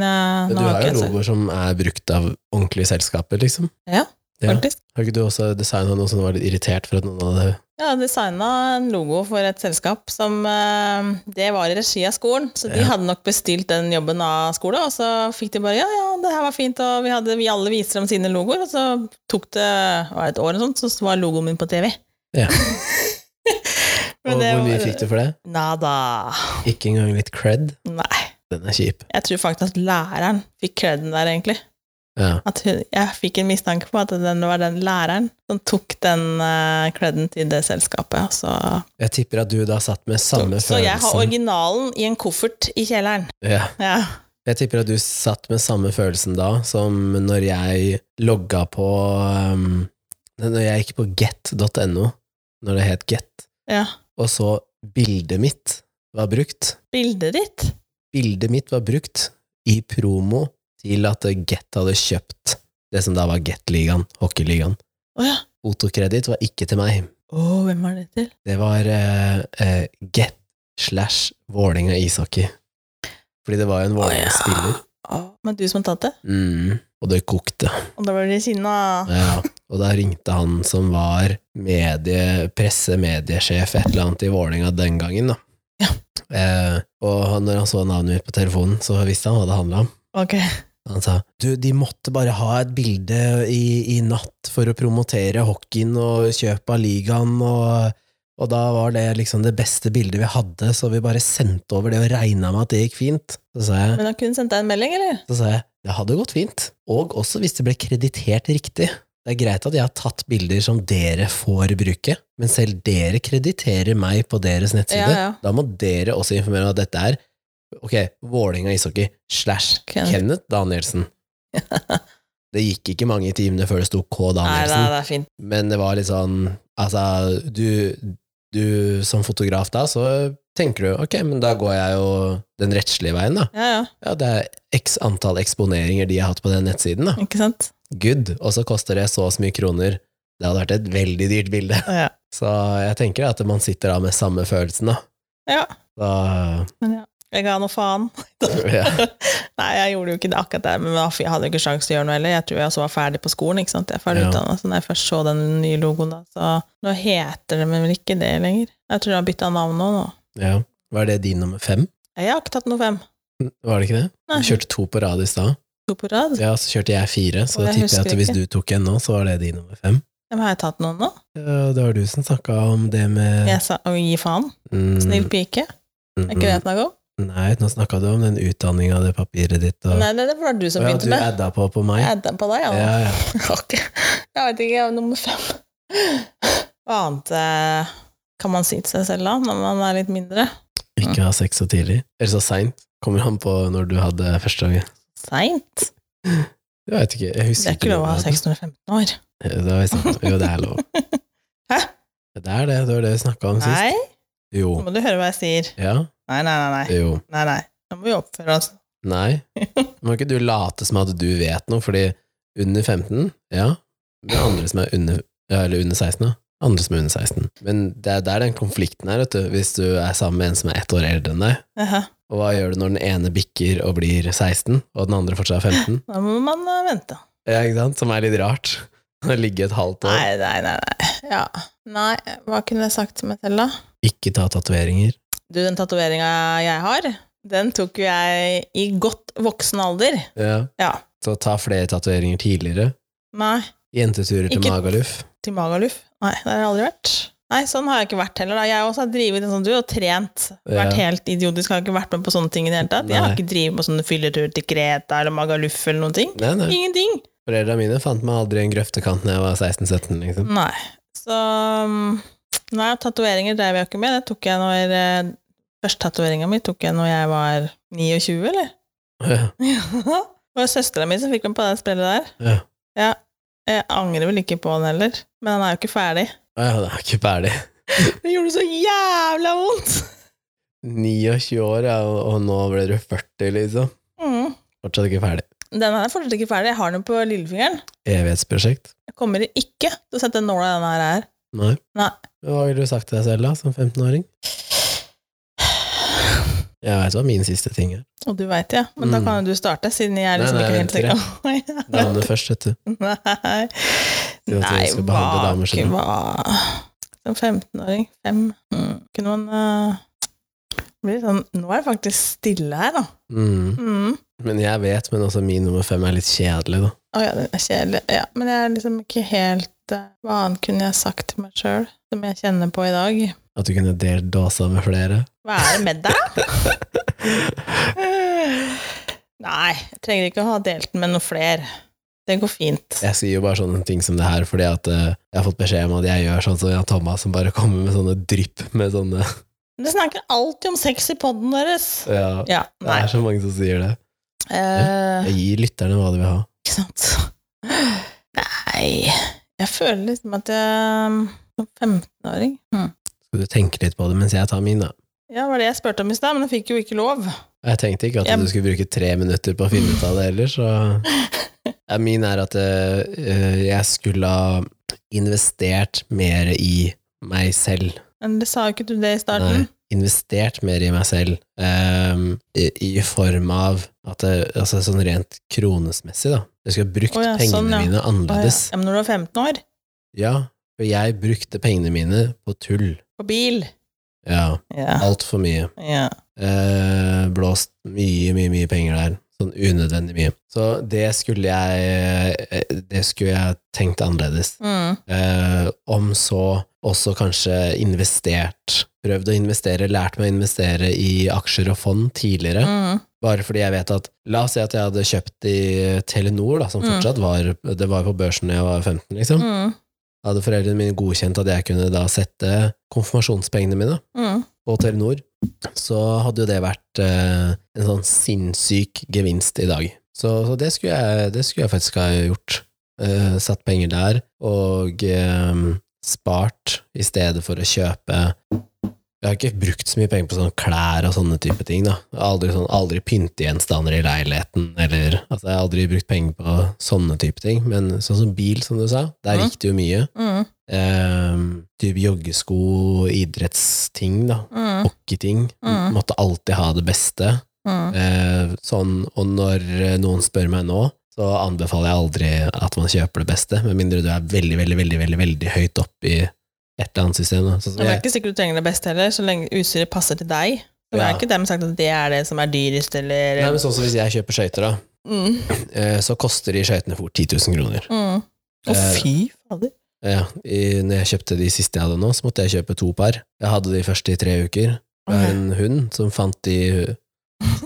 Speaker 1: Men
Speaker 2: jeg, nå
Speaker 1: du
Speaker 2: har
Speaker 1: har
Speaker 2: ikke
Speaker 1: jo
Speaker 2: jeg
Speaker 1: logoer som er brukt av ordentlige selskaper, liksom.
Speaker 2: Ja,
Speaker 1: Ja.
Speaker 2: faktisk.
Speaker 1: Har ikke du også designa noe som var litt irritert for at noen hadde
Speaker 2: Jeg har designa en logo for et selskap som eh, Det var i regi av skolen, så de
Speaker 1: Ja.
Speaker 2: hadde nok bestilt den jobben av skolen, og så fikk de bare 'ja, ja, det her var fint', og vi, hadde, vi alle viste dem sine logoer, og så tok det var det et år, eller sånt, så var logoen min på TV.
Speaker 1: Ja.
Speaker 2: [LAUGHS] Men
Speaker 1: Og
Speaker 2: det
Speaker 1: hvor mye
Speaker 2: var-
Speaker 1: fikk du for det?
Speaker 2: Nada.
Speaker 1: Ikke engang litt cred?
Speaker 2: Nei.
Speaker 1: Den er kjip.
Speaker 2: Jeg tror faktisk at læreren fikk kreden der, egentlig.
Speaker 1: Ja.
Speaker 2: at hun, jeg fikk en mistanke på at den var den læreren som tok den uh, creden til det selskapet. Så,
Speaker 1: Jeg tipper at du da satt med samme
Speaker 2: så jeg har
Speaker 1: følelsen
Speaker 2: originalen i en koffert i kjelleren.
Speaker 1: ja.
Speaker 2: Ja.
Speaker 1: Jeg tipper at du satt med samme følelsen da som når jeg logga på um, Når jeg gikk på get.no, når det het Get,
Speaker 2: ja.
Speaker 1: og så bildet mitt var brukt.
Speaker 2: Bildet ditt.
Speaker 1: Bildet mitt var brukt i promo til at Get hadde kjøpt det som da var Get-ligaen, hockeyligaen.
Speaker 2: Å ja.
Speaker 1: Fotokreditt var ikke til meg.
Speaker 2: Å, hvem var det til?
Speaker 1: Det var eh, eh, Get slash Vålinga ishockey. Fordi det var jo en Vålinga-spiller.
Speaker 2: Å, Men du som har tatt det?
Speaker 1: Mm. Og det kokte.
Speaker 2: Og da ble de sinna.
Speaker 1: Ja. Og da ringte han som var medie, presse-mediesjef et eller annet i Vålinga den gangen, da.
Speaker 2: Ja.
Speaker 1: Eh, og han, når han så navnet mitt på telefonen, så visste han hva det handla om.
Speaker 2: Ok.
Speaker 1: Han sa du, de måtte bare ha et bilde i, i natt for å promotere hockeyen og kjøp av ligaen, og, og da var det liksom det beste bildet vi hadde, så vi bare sendte over det og regna med at det gikk fint. Så sa jeg,
Speaker 2: Men han kunne sendt deg en melding, eller?
Speaker 1: så sa jeg det hadde gått fint, og også hvis det ble kreditert riktig. Det er greit at jeg har tatt bilder som dere får bruke, men selv dere krediterer meg på deres nettside.
Speaker 2: Ja, ja.
Speaker 1: Da må dere også informere om at dette er Ok, Vålerenga ishockey slash
Speaker 2: Kenneth.
Speaker 1: Kenneth Danielsen.
Speaker 2: [LAUGHS]
Speaker 1: det gikk ikke mange timene før det sto K.
Speaker 2: Nei, nei,
Speaker 1: Danielsen,
Speaker 2: det er fint.
Speaker 1: men det var litt sånn Altså, du, du som fotograf da, så tenker du ok, men da går jeg jo den rettslige veien, da.
Speaker 2: Ja, ja.
Speaker 1: Ja, det er x antall eksponeringer de har hatt på den nettsiden, da.
Speaker 2: Ikke sant?
Speaker 1: Good. Og så koster det så og så mye kroner. Det hadde vært et veldig dyrt bilde.
Speaker 2: Å, Ja.
Speaker 1: Så jeg tenker at man sitter da med samme følelsen, da.
Speaker 2: ja.
Speaker 1: da
Speaker 2: Men ja. Jeg ga noe faen.
Speaker 1: ja.
Speaker 2: Nei, jeg gjorde jo ikke det akkurat der, men jeg hadde jo ikke sjanse til å gjøre noe heller. Jeg tror jeg også var ferdig på skolen. ikke sant? Jeg er ferdig
Speaker 1: Ja.
Speaker 2: utdannet, så når jeg først så den nye logoen, da, så nå heter det vel ikke det lenger. Jeg tror jeg har bytta navn nå. nå.
Speaker 1: ja. Var det din nummer fem?
Speaker 2: Jeg har ikke tatt noe fem.
Speaker 1: Var det ikke det?
Speaker 2: Nei.
Speaker 1: Du kjørte to på rad i stad.
Speaker 2: To på rad.
Speaker 1: Ja, så kjørte jeg fire, så
Speaker 2: Og
Speaker 1: da
Speaker 2: jeg
Speaker 1: tipper jeg at
Speaker 2: husker
Speaker 1: hvis du
Speaker 2: ikke.
Speaker 1: tok en nå, så var det din nummer fem.
Speaker 2: Men har jeg tatt noen nå?
Speaker 1: Ja, det var du som snakka om det med Mm,
Speaker 2: Jeg sa å gi faen. Snill pike. Er ikke det jeg snakket om?
Speaker 1: Nei, nå snakka du om den utdanninga, det papiret ditt og
Speaker 2: Nei, det det var du som
Speaker 1: Å ja,
Speaker 2: begynte
Speaker 1: Du
Speaker 2: med.
Speaker 1: adda på på meg.
Speaker 2: Jeg adda på deg, ja.
Speaker 1: Ja, ja.
Speaker 2: [LAUGHS] Ok. Jeg vet ikke, jeg er nummer fem. Hva annet eh, kan man si til seg selv da, når man er litt mindre?
Speaker 1: Ikke ha sex så tidlig. Eller så seint, kommer han på når du hadde første gangen.
Speaker 2: Seint.
Speaker 1: Jeg vet ikke, jeg
Speaker 2: Det
Speaker 1: husker
Speaker 2: er ikke lov å ha
Speaker 1: når jeg
Speaker 2: sex når du er 15 år.
Speaker 1: hadde. Det var sant. Jo, det er lov.
Speaker 2: [LAUGHS] Hæ?
Speaker 1: Det er det, det var det vi snakka om sist.
Speaker 2: Nei,
Speaker 1: Jo.
Speaker 2: nå må du høre hva jeg sier.
Speaker 1: Ja.
Speaker 2: Nei, nei, nei. nei.
Speaker 1: Jo.
Speaker 2: nei, nei. Nå må vi oppføre oss.
Speaker 1: Nei. Må ikke du late som at du vet noe, fordi under 15, ja. Men andre som er under, ja, eller under 16, da. Andre som er under 16. Men det er der den konflikten er, vet du. Hvis du er sammen med en som er ett år eldre enn deg,
Speaker 2: Jaha.
Speaker 1: og hva gjør du når den ene bikker og blir 16, og den andre fortsatt er 15?
Speaker 2: Da må man eh, vente.
Speaker 1: Ja, ikke sant? Som er litt rart. [LAUGHS] Å ligge et halvt år.
Speaker 2: Nei, nei, nei. Nei, ja. nei hva kunne jeg sagt til meg selv, da?
Speaker 1: Ikke ta tatoveringer.
Speaker 2: Du, den tatoveringa jeg har, den tok jo jeg i godt voksen alder.
Speaker 1: Ja.
Speaker 2: Ja.
Speaker 1: Så ta flere tatoveringer tidligere.
Speaker 2: Nei,
Speaker 1: Jenteturer til
Speaker 2: Ikke-
Speaker 1: Magaluf.
Speaker 2: til Magaluf. Nei, det har jeg aldri vært. Nei, sånn har jeg ikke vært heller. da. Jeg også har drevet en sånn du, og trent. Vært
Speaker 1: Ja.
Speaker 2: helt idiotisk, har ikke vært med på sånne ting i det hele tatt. Jeg har
Speaker 1: Nei.
Speaker 2: ikke drevet på sånne fylleturer til Kreta eller Magaluf eller noen ting.
Speaker 1: Nei, nei.
Speaker 2: Ingenting.
Speaker 1: Foreldra mine fant meg aldri i en grøftekant da jeg var 16-17, liksom.
Speaker 2: Nei. Så mm, Nei, tatoveringer drev jeg ikke med. Det tok jeg når eh, Første tatoveringa mi tok jeg når jeg var 29, eller? [LAUGHS]
Speaker 1: [LAUGHS] Ja,
Speaker 2: Ja. Det var søstera mi som fikk den på det spillet der.
Speaker 1: ja.
Speaker 2: Jeg angrer vel ikke på den heller, men den er jo ikke ferdig. [LAUGHS]
Speaker 1: Å ja, det er ikke ferdig.
Speaker 2: Det gjorde så jævla vondt!
Speaker 1: 29 år, ja, og og nå ble du 40, liksom.
Speaker 2: Mm.
Speaker 1: Fortsatt ikke ferdig.
Speaker 2: Den her er fortsatt ikke ferdig. Jeg har den på lillefingeren.
Speaker 1: Evighetsprosjekt?
Speaker 2: Jeg kommer ikke til å sette nåla i denne her her.
Speaker 1: Nei.
Speaker 2: Nei.
Speaker 1: Men Hva ville du sagt til deg selv, da, som 15-åring? Jeg veit hva min siste ting er.
Speaker 2: Og du veit det, ja. men da
Speaker 1: Mm.
Speaker 2: kan jo du starte, siden jeg er
Speaker 1: Nei,
Speaker 2: liksom
Speaker 1: nei, jeg
Speaker 2: ikke [LAUGHS] helt sikker.
Speaker 1: Damene først, vet du.
Speaker 2: [LAUGHS] Nei.
Speaker 1: Sier at vi skal behandle damer som-
Speaker 2: hva Som 15-åring, fem mm. Kunne man eh, bli sånn Nå er det faktisk stille her, da.
Speaker 1: Mm.
Speaker 2: Mm.
Speaker 1: Men jeg vet, men også min nummer fem er litt kjedelig, da.
Speaker 2: Å ja, den er kjedelig. Ja, men jeg er liksom ikke helt eh, Hva annet kunne jeg sagt til meg sjøl, som jeg kjenner på i dag?
Speaker 1: At du kunne delt dåsa med flere.
Speaker 2: Hva er det med deg?
Speaker 1: [LAUGHS]
Speaker 2: Nei, jeg trenger ikke å ha delt den med noen flere. Det går fint.
Speaker 1: Jeg sier jo bare sånne ting som det her fordi at eh, jeg har fått beskjed om at jeg gjør sånn som Jan Thomas, som bare kommer med sånne drypp med sånne
Speaker 2: Dere snakker alltid om sex i poden deres.
Speaker 1: Ja,
Speaker 2: Ja,
Speaker 1: det
Speaker 2: nei.
Speaker 1: er så mange som sier det.
Speaker 2: Eh,
Speaker 1: Jeg gir lytterne hva de vil ha.
Speaker 2: Ikke sant? Nei Jeg føler liksom at jeg Som 15-åring mm.
Speaker 1: Skal du tenke litt på det mens jeg tar min, da?
Speaker 2: Ja, det var det jeg spurte om i stad, men jeg fikk jo ikke lov.
Speaker 1: Jeg tenkte ikke at
Speaker 2: Jeg-
Speaker 1: du skulle bruke tre minutter på å finne ut av det heller, så
Speaker 2: [LAUGHS]
Speaker 1: ja, Min er at eh, jeg skulle ha investert mer i meg selv.
Speaker 2: Men det sa jo ikke du det i starten.
Speaker 1: Nei, investert mer i meg selv, ehm, i, i form av at det, altså sånn rent kronesmessig, da. Jeg skulle ha brukt
Speaker 2: Å ja,
Speaker 1: pengene
Speaker 2: sånn, ja.
Speaker 1: mine
Speaker 2: Å, ja.
Speaker 1: annerledes.
Speaker 2: Ja, men når du var 15 år,
Speaker 1: ja. for jeg brukte pengene mine på tull.
Speaker 2: på bil
Speaker 1: Ja,
Speaker 2: Ja.
Speaker 1: altfor mye.
Speaker 2: ja.
Speaker 1: Eh, blåst mye, mye, mye penger der. Sånn unødvendig mye. Så det skulle jeg eh, Det skulle jeg tenkt annerledes.
Speaker 2: Mm.
Speaker 1: Eh, om så også kanskje investert. Prøvd å investere, lært meg å investere i aksjer og fond tidligere.
Speaker 2: Mm.
Speaker 1: Bare fordi jeg vet at La oss si at jeg hadde kjøpt i Telenor, da, som
Speaker 2: Mm.
Speaker 1: fortsatt var Det var på børsen da jeg var 15, liksom.
Speaker 2: Mm.
Speaker 1: Hadde foreldrene mine godkjent at jeg kunne da sette konfirmasjonspengene mine
Speaker 2: Mm.
Speaker 1: på Telenor, så hadde jo det vært eh, en sånn sinnssyk gevinst i dag. Så, så det, skulle jeg, det skulle jeg faktisk ha gjort. Eh, satt penger der, og eh, spart i stedet for å kjøpe Jeg har ikke brukt så mye penger på sånne klær og sånne type ting. da. Aldri, sånn, aldri pyntegjenstander i leiligheten, eller altså, Jeg har aldri brukt penger på sånne type ting. Men sånn som bil, som du sa, der
Speaker 2: Mhm.
Speaker 1: gikk det jo mye.
Speaker 2: Mm.
Speaker 1: Eh, typ joggesko, idrettsting, da
Speaker 2: Mm.
Speaker 1: hockeyting.
Speaker 2: Mm.
Speaker 1: Måtte alltid ha det beste.
Speaker 2: Mm.
Speaker 1: Eh, sånn, og når eh, noen spør meg nå, så anbefaler jeg aldri at man kjøper det beste, med mindre du er veldig, veldig, veldig, veldig, veldig høyt opp i et eller annet system. da. Sånn som
Speaker 2: Det er
Speaker 1: jeg,
Speaker 2: ikke sikkert du trenger det beste heller, så lenge utstyret passer til deg. Det er
Speaker 1: Ja.
Speaker 2: ikke dermed sagt at det er det som er dyrest, eller
Speaker 1: nei, men sånn som hvis jeg kjøper skøyter, da,
Speaker 2: mm.
Speaker 1: eh, så koster de skøytene fort 10 000 kroner.
Speaker 2: Mm. Å,
Speaker 1: Eh,
Speaker 2: fy fader.
Speaker 1: Ja, i, når jeg kjøpte de siste jeg hadde nå, så måtte jeg kjøpe to par. Jeg hadde de første i tre uker. Jeg har en hund som fant de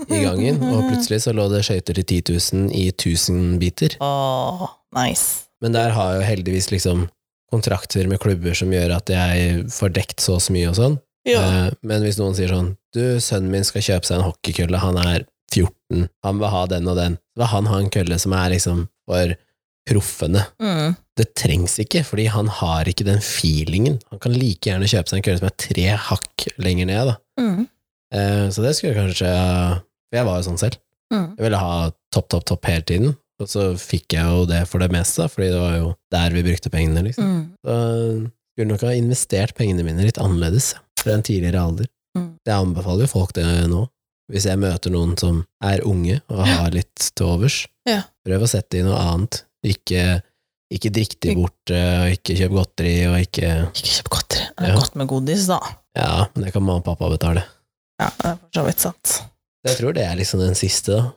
Speaker 1: i gangen, og plutselig så lå det skøyter til 10 000 i 1000 biter.
Speaker 2: Åh, nice.
Speaker 1: Men der har jeg jo heldigvis liksom kontrakter med klubber som gjør at jeg får dekt så og så mye og sånn.
Speaker 2: Ja.
Speaker 1: Eh, Men hvis noen sier sånn Du, sønnen min skal kjøpe seg en hockeykølle, han er 14, han vil ha den og den. Så vil han ha en kølle som er liksom for proffene.
Speaker 2: Mm.
Speaker 1: Det trengs ikke, fordi han har ikke den feelingen. Han kan like gjerne kjøpe seg en kølle som er tre hakk lenger ned, da.
Speaker 2: Mm.
Speaker 1: Eh, Så det skulle jeg kanskje For jeg var jo sånn selv.
Speaker 2: Mm.
Speaker 1: Jeg ville ha topp, topp, topp hele tiden. Og så fikk jeg jo det for det meste, da, fordi det var jo der vi brukte pengene, liksom.
Speaker 2: Mm.
Speaker 1: Så skulle nok ha investert pengene mine litt annerledes fra en tidligere alder.
Speaker 2: Mm.
Speaker 1: Jeg anbefaler jo folk det nå. Hvis jeg møter noen som er unge og har litt til overs,
Speaker 2: Ja.
Speaker 1: prøv å sette i noe annet. Ikke, ikke drikk de bort, eh, og ikke kjøp godteri, og ikke
Speaker 2: Ikke kjøp godteri. Det er
Speaker 1: Ja.
Speaker 2: godt med godis, da.
Speaker 1: Ja, men det kan mamma og pappa betale.
Speaker 2: Ja, det er for så vidt sant.
Speaker 1: Jeg tror det er liksom den siste, da.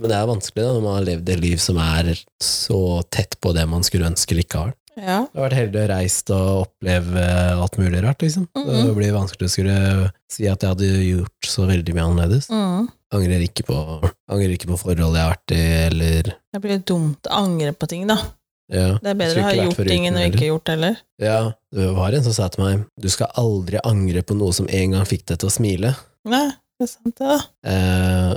Speaker 1: Men det er vanskelig da, når man har levd et liv som er så tett på det man skulle ønske likevel.
Speaker 2: Ja.
Speaker 1: Jeg har vært heldig og reist og oppleve alt mulig rart, liksom.
Speaker 2: Mhm.
Speaker 1: Det blir vanskelig å skulle si at jeg hadde gjort så veldig mye annerledes.
Speaker 2: Mm.
Speaker 1: Angrer ikke på, angrer ikke på forhold jeg har vært i, eller
Speaker 2: Det blir dumt å angre på ting, da.
Speaker 1: ja.
Speaker 2: Det er bedre
Speaker 1: Jeg
Speaker 2: å ha
Speaker 1: skulle ikke vært
Speaker 2: gjort
Speaker 1: foruten
Speaker 2: ting enn å ikke
Speaker 1: heller.
Speaker 2: gjort heller.
Speaker 1: ja, det var en som sa til meg du skal aldri angre på noe som en gang fikk deg til å smile.
Speaker 2: Nei, det er sant, det, da.
Speaker 1: Eh,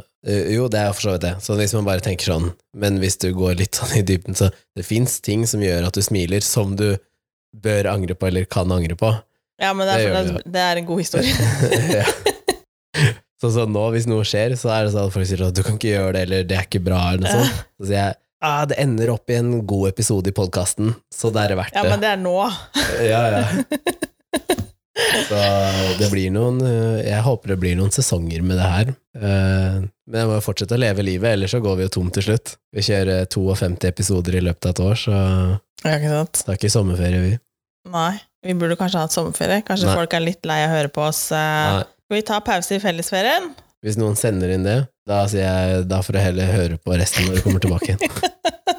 Speaker 1: jo, det er for så vidt det. Så hvis man bare tenker sånn, men hvis du går litt sånn i dybden, så det fins ting som gjør at du smiler, som du bør angre på, eller kan angre
Speaker 2: [LAUGHS]
Speaker 1: på.
Speaker 2: Ja, men det
Speaker 1: Det
Speaker 2: er,
Speaker 1: gjør
Speaker 2: for det, det er en god
Speaker 1: [LAUGHS]
Speaker 2: historie.
Speaker 1: ja. Sånn som nå, hvis noe skjer, så er det sånn at folk sier at du kan ikke gjøre det, eller det er ikke bra, eller noe
Speaker 2: Ja.
Speaker 1: sånt. Så sier jeg ah, det ender opp i en god episode i podkasten, så det er verdt
Speaker 2: Ja,
Speaker 1: det.
Speaker 2: men det er nå.
Speaker 1: Ja, ja. Så det blir noen eh, Jeg håper det blir noen sesonger med det her. Eh, Men jeg må jo fortsette å leve livet, ellers så går vi jo tom til slutt. Vi kjører 52 episoder i løpet av et år, så
Speaker 2: Ja, ikke sant?
Speaker 1: tar ikke sommerferie, vi.
Speaker 2: Nei. Vi burde kanskje hatt sommerferie. Kanskje
Speaker 1: Nei.
Speaker 2: folk er litt lei av å høre på oss. eh,
Speaker 1: Nei.
Speaker 2: Skal vi ta pause i fellesferien?
Speaker 1: Hvis noen sender inn det, da sier jeg da får du heller høre på resten når du kommer tilbake
Speaker 2: [LAUGHS]
Speaker 1: igjen.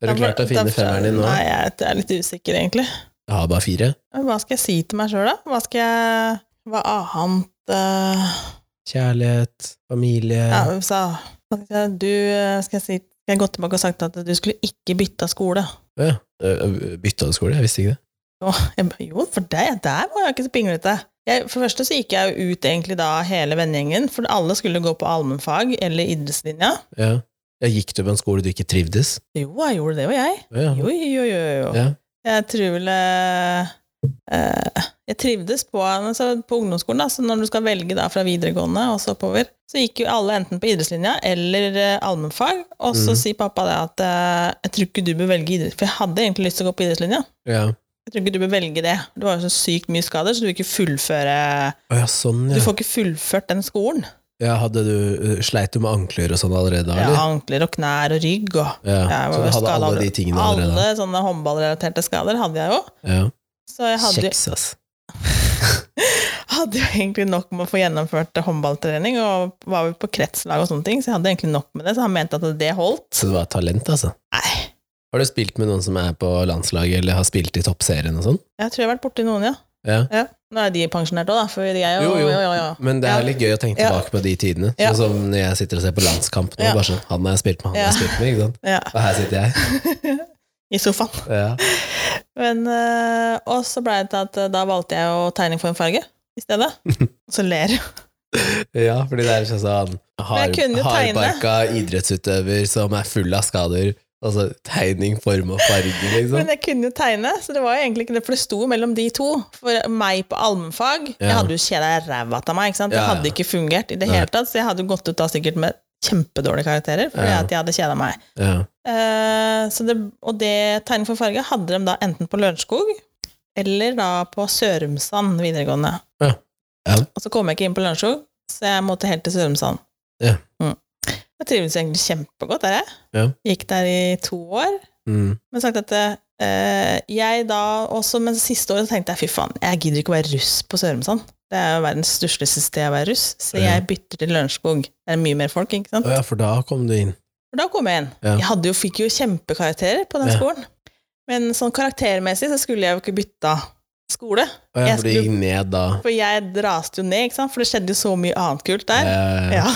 Speaker 1: Har du klart å finne femmeren din nå?
Speaker 2: Nei, jeg er litt usikker, egentlig.
Speaker 1: Jeg har bare fire.
Speaker 2: Men Hva skal jeg si til meg sjøl, da? Hva skal jeg Hva annet eh,
Speaker 1: Kjærlighet, familie
Speaker 2: Ja, hun sa hva skal jeg si, Du eh, skal jeg si Skal jeg gå tilbake og sagt at du skulle ikke bytte skole?
Speaker 1: ja. Ø, Bytta du skole? Jeg visste ikke det.
Speaker 2: Jo, jeg, ba, jo for deg, der var jeg ikke så pinglete. Jeg, for det første så gikk jeg jo ut egentlig da hele vennegjengen, for alle skulle gå på allmennfag eller idrettslinja.
Speaker 1: Ja. Ja, gikk du på en skole du ikke trivdes?
Speaker 2: Jo, jeg gjorde det, og jeg.
Speaker 1: Ja.
Speaker 2: Jo, jo, jo, jo. jo.
Speaker 1: Ja.
Speaker 2: Jeg tror vel eh, eh, Jeg trivdes på, altså på ungdomsskolen, da, så når du skal velge da fra videregående og så oppover, så gikk jo alle enten på idrettslinja eller eh, allmennfag, og så
Speaker 1: Mhm.
Speaker 2: sier pappa det at eh, jeg tror ikke du bør velge idrett, for jeg hadde egentlig lyst til å gå på idrettslinja.
Speaker 1: ja.
Speaker 2: Jeg tror ikke du bør velge det. Du har jo så sykt mye skader, så du vil ikke fullføre
Speaker 1: Å ja, sånn,
Speaker 2: Du
Speaker 1: ja.
Speaker 2: får ikke fullført den skolen.
Speaker 1: ja hadde du, ø, sleit du med ankler og sånn allerede da,
Speaker 2: Ja,
Speaker 1: eller?
Speaker 2: ankler og knær og rygg og
Speaker 1: Ja.
Speaker 2: Jeg
Speaker 1: Så
Speaker 2: var
Speaker 1: du hadde
Speaker 2: skadet
Speaker 1: alle de tingene allerede?
Speaker 2: Alle sånne håndballrelaterte skader hadde jeg jo.
Speaker 1: Ja.
Speaker 2: Så jeg hadde jo
Speaker 1: Kjeks, ass.
Speaker 2: hadde jo egentlig nok med å få gjennomført håndballtrening, og var jo på kretslag og sånne ting, så jeg hadde egentlig nok med det, så han mente at det holdt.
Speaker 1: Så du var et talent, altså?
Speaker 2: Nei,
Speaker 1: Har du spilt med noen som er på landslaget, eller har spilt i toppserien og sånn?
Speaker 2: jeg tror jeg har vært borti noen, ja.
Speaker 1: Ja.
Speaker 2: ja. Nå er de pensjonert òg, da, for jeg er jo,
Speaker 1: Jo, jo.
Speaker 2: jo, jo, jo.
Speaker 1: Men det
Speaker 2: Ja.
Speaker 1: er litt gøy å tenke
Speaker 2: Ja.
Speaker 1: tilbake på de tidene. Sånn
Speaker 2: Ja.
Speaker 1: som når jeg sitter og ser på landskamp nå.
Speaker 2: Ja.
Speaker 1: Bare sånn, han har jeg spilt med, han har jeg
Speaker 2: Ja.
Speaker 1: spilt med. Ikke sant?
Speaker 2: Ja.
Speaker 1: Og her sitter
Speaker 2: [LAUGHS]
Speaker 1: jeg.
Speaker 2: I sofaen.
Speaker 1: Ja.
Speaker 2: Men, øh, og så blei det til at øh, da valgte jeg jo tegning for en farge i stedet.
Speaker 1: [LAUGHS]
Speaker 2: Så ler jeg.
Speaker 1: ja, fordi det er sånn sånn
Speaker 2: Men
Speaker 1: hard,
Speaker 2: jeg kunne jo tegne.
Speaker 1: hardbarka idrettsutøver som er full av skader. Altså tegning, form og farge,
Speaker 2: Men
Speaker 1: liksom.
Speaker 2: jeg kunne jo tegne, så det var jo egentlig ikke det, for det sto mellom de to. For meg på allmennfag Jeg
Speaker 1: Ja.
Speaker 2: hadde jo kjeda ræva av meg, ikke sant. Det
Speaker 1: Ja, ja.
Speaker 2: hadde ikke fungert i det
Speaker 1: Nei.
Speaker 2: hele tatt, så jeg hadde jo gått ut da sikkert med kjempedårlige karakterer, fordi
Speaker 1: Ja.
Speaker 2: at jeg hadde kjeda meg.
Speaker 1: Ja.
Speaker 2: Eh, så det, og det tegning for farge hadde de da enten på Lørenskog eller da på Sørumsand videregående.
Speaker 1: Ja. Ja.
Speaker 2: Og så kom jeg ikke inn på Lørenskog, så jeg måtte helt til Sørumsand.
Speaker 1: Ja.
Speaker 2: Mm. Jeg trives egentlig kjempegodt der, jeg.
Speaker 1: Ja.
Speaker 2: Gikk der i to år.
Speaker 1: Mm.
Speaker 2: Men sagt at eh, jeg da også, men siste året så tenkte jeg fy faen, jeg gidder ikke å være russ på Sørumsand. Det er jo verdens stussligste sted å være russ, så
Speaker 1: Ja.
Speaker 2: jeg bytter til Lørenskog. Det er mye mer folk, ikke sant.
Speaker 1: Å ja, for da kom du inn.
Speaker 2: For da kom jeg inn.
Speaker 1: Ja.
Speaker 2: Jeg hadde jo, fikk jo kjempekarakterer på den
Speaker 1: Ja.
Speaker 2: skolen. Men sånn karaktermessig så skulle jeg jo ikke bytta skole.
Speaker 1: Å ja,
Speaker 2: Jeg
Speaker 1: for du gikk ned da.
Speaker 2: For jeg raste jo ned, ikke sant, for det skjedde jo så mye annet kult der.
Speaker 1: Eh,
Speaker 2: Ja.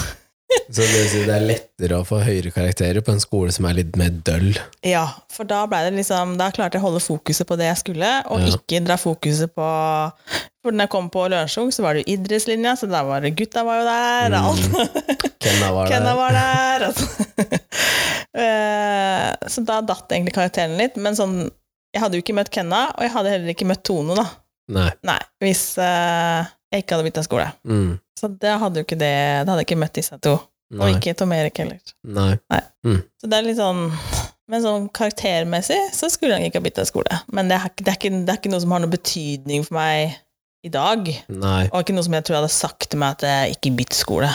Speaker 1: Så det, vil si det er lettere å få høyere karakterer på en skole som er litt mer døll.
Speaker 2: Ja, for da ble det liksom Da klarte jeg å holde fokuset på det jeg skulle, og
Speaker 1: Ja.
Speaker 2: ikke dra fokuset på For når jeg kom på Lørenskog, så var det jo idrettslinja, så da var det gutta var jo der, og [LAUGHS] alt.
Speaker 1: Kenna var
Speaker 2: Kenna
Speaker 1: Mm, der.
Speaker 2: var der, altså. [LAUGHS] Eh, så da datt egentlig karakteren litt, men sånn Jeg hadde jo ikke møtt Kenna, og jeg hadde heller ikke møtt Tone, da.
Speaker 1: Nei.
Speaker 2: Nei, hvis eh, jeg ikke hadde bytta skole.
Speaker 1: Mm.
Speaker 2: Så det hadde jo ikke det Da hadde jeg ikke møtt disse to. Og
Speaker 1: Nei.
Speaker 2: ikke Tom Erik heller.
Speaker 1: Nei.
Speaker 2: Så det er litt sånn Men sånn karaktermessig så skulle han ikke ha bytta skole. Men det er, ikke- det, er ikke, det er ikke noe som har noe betydning for meg i dag.
Speaker 1: Nei.
Speaker 2: Og ikke noe som jeg tror jeg hadde sagt til meg at jeg ikke bytt skole.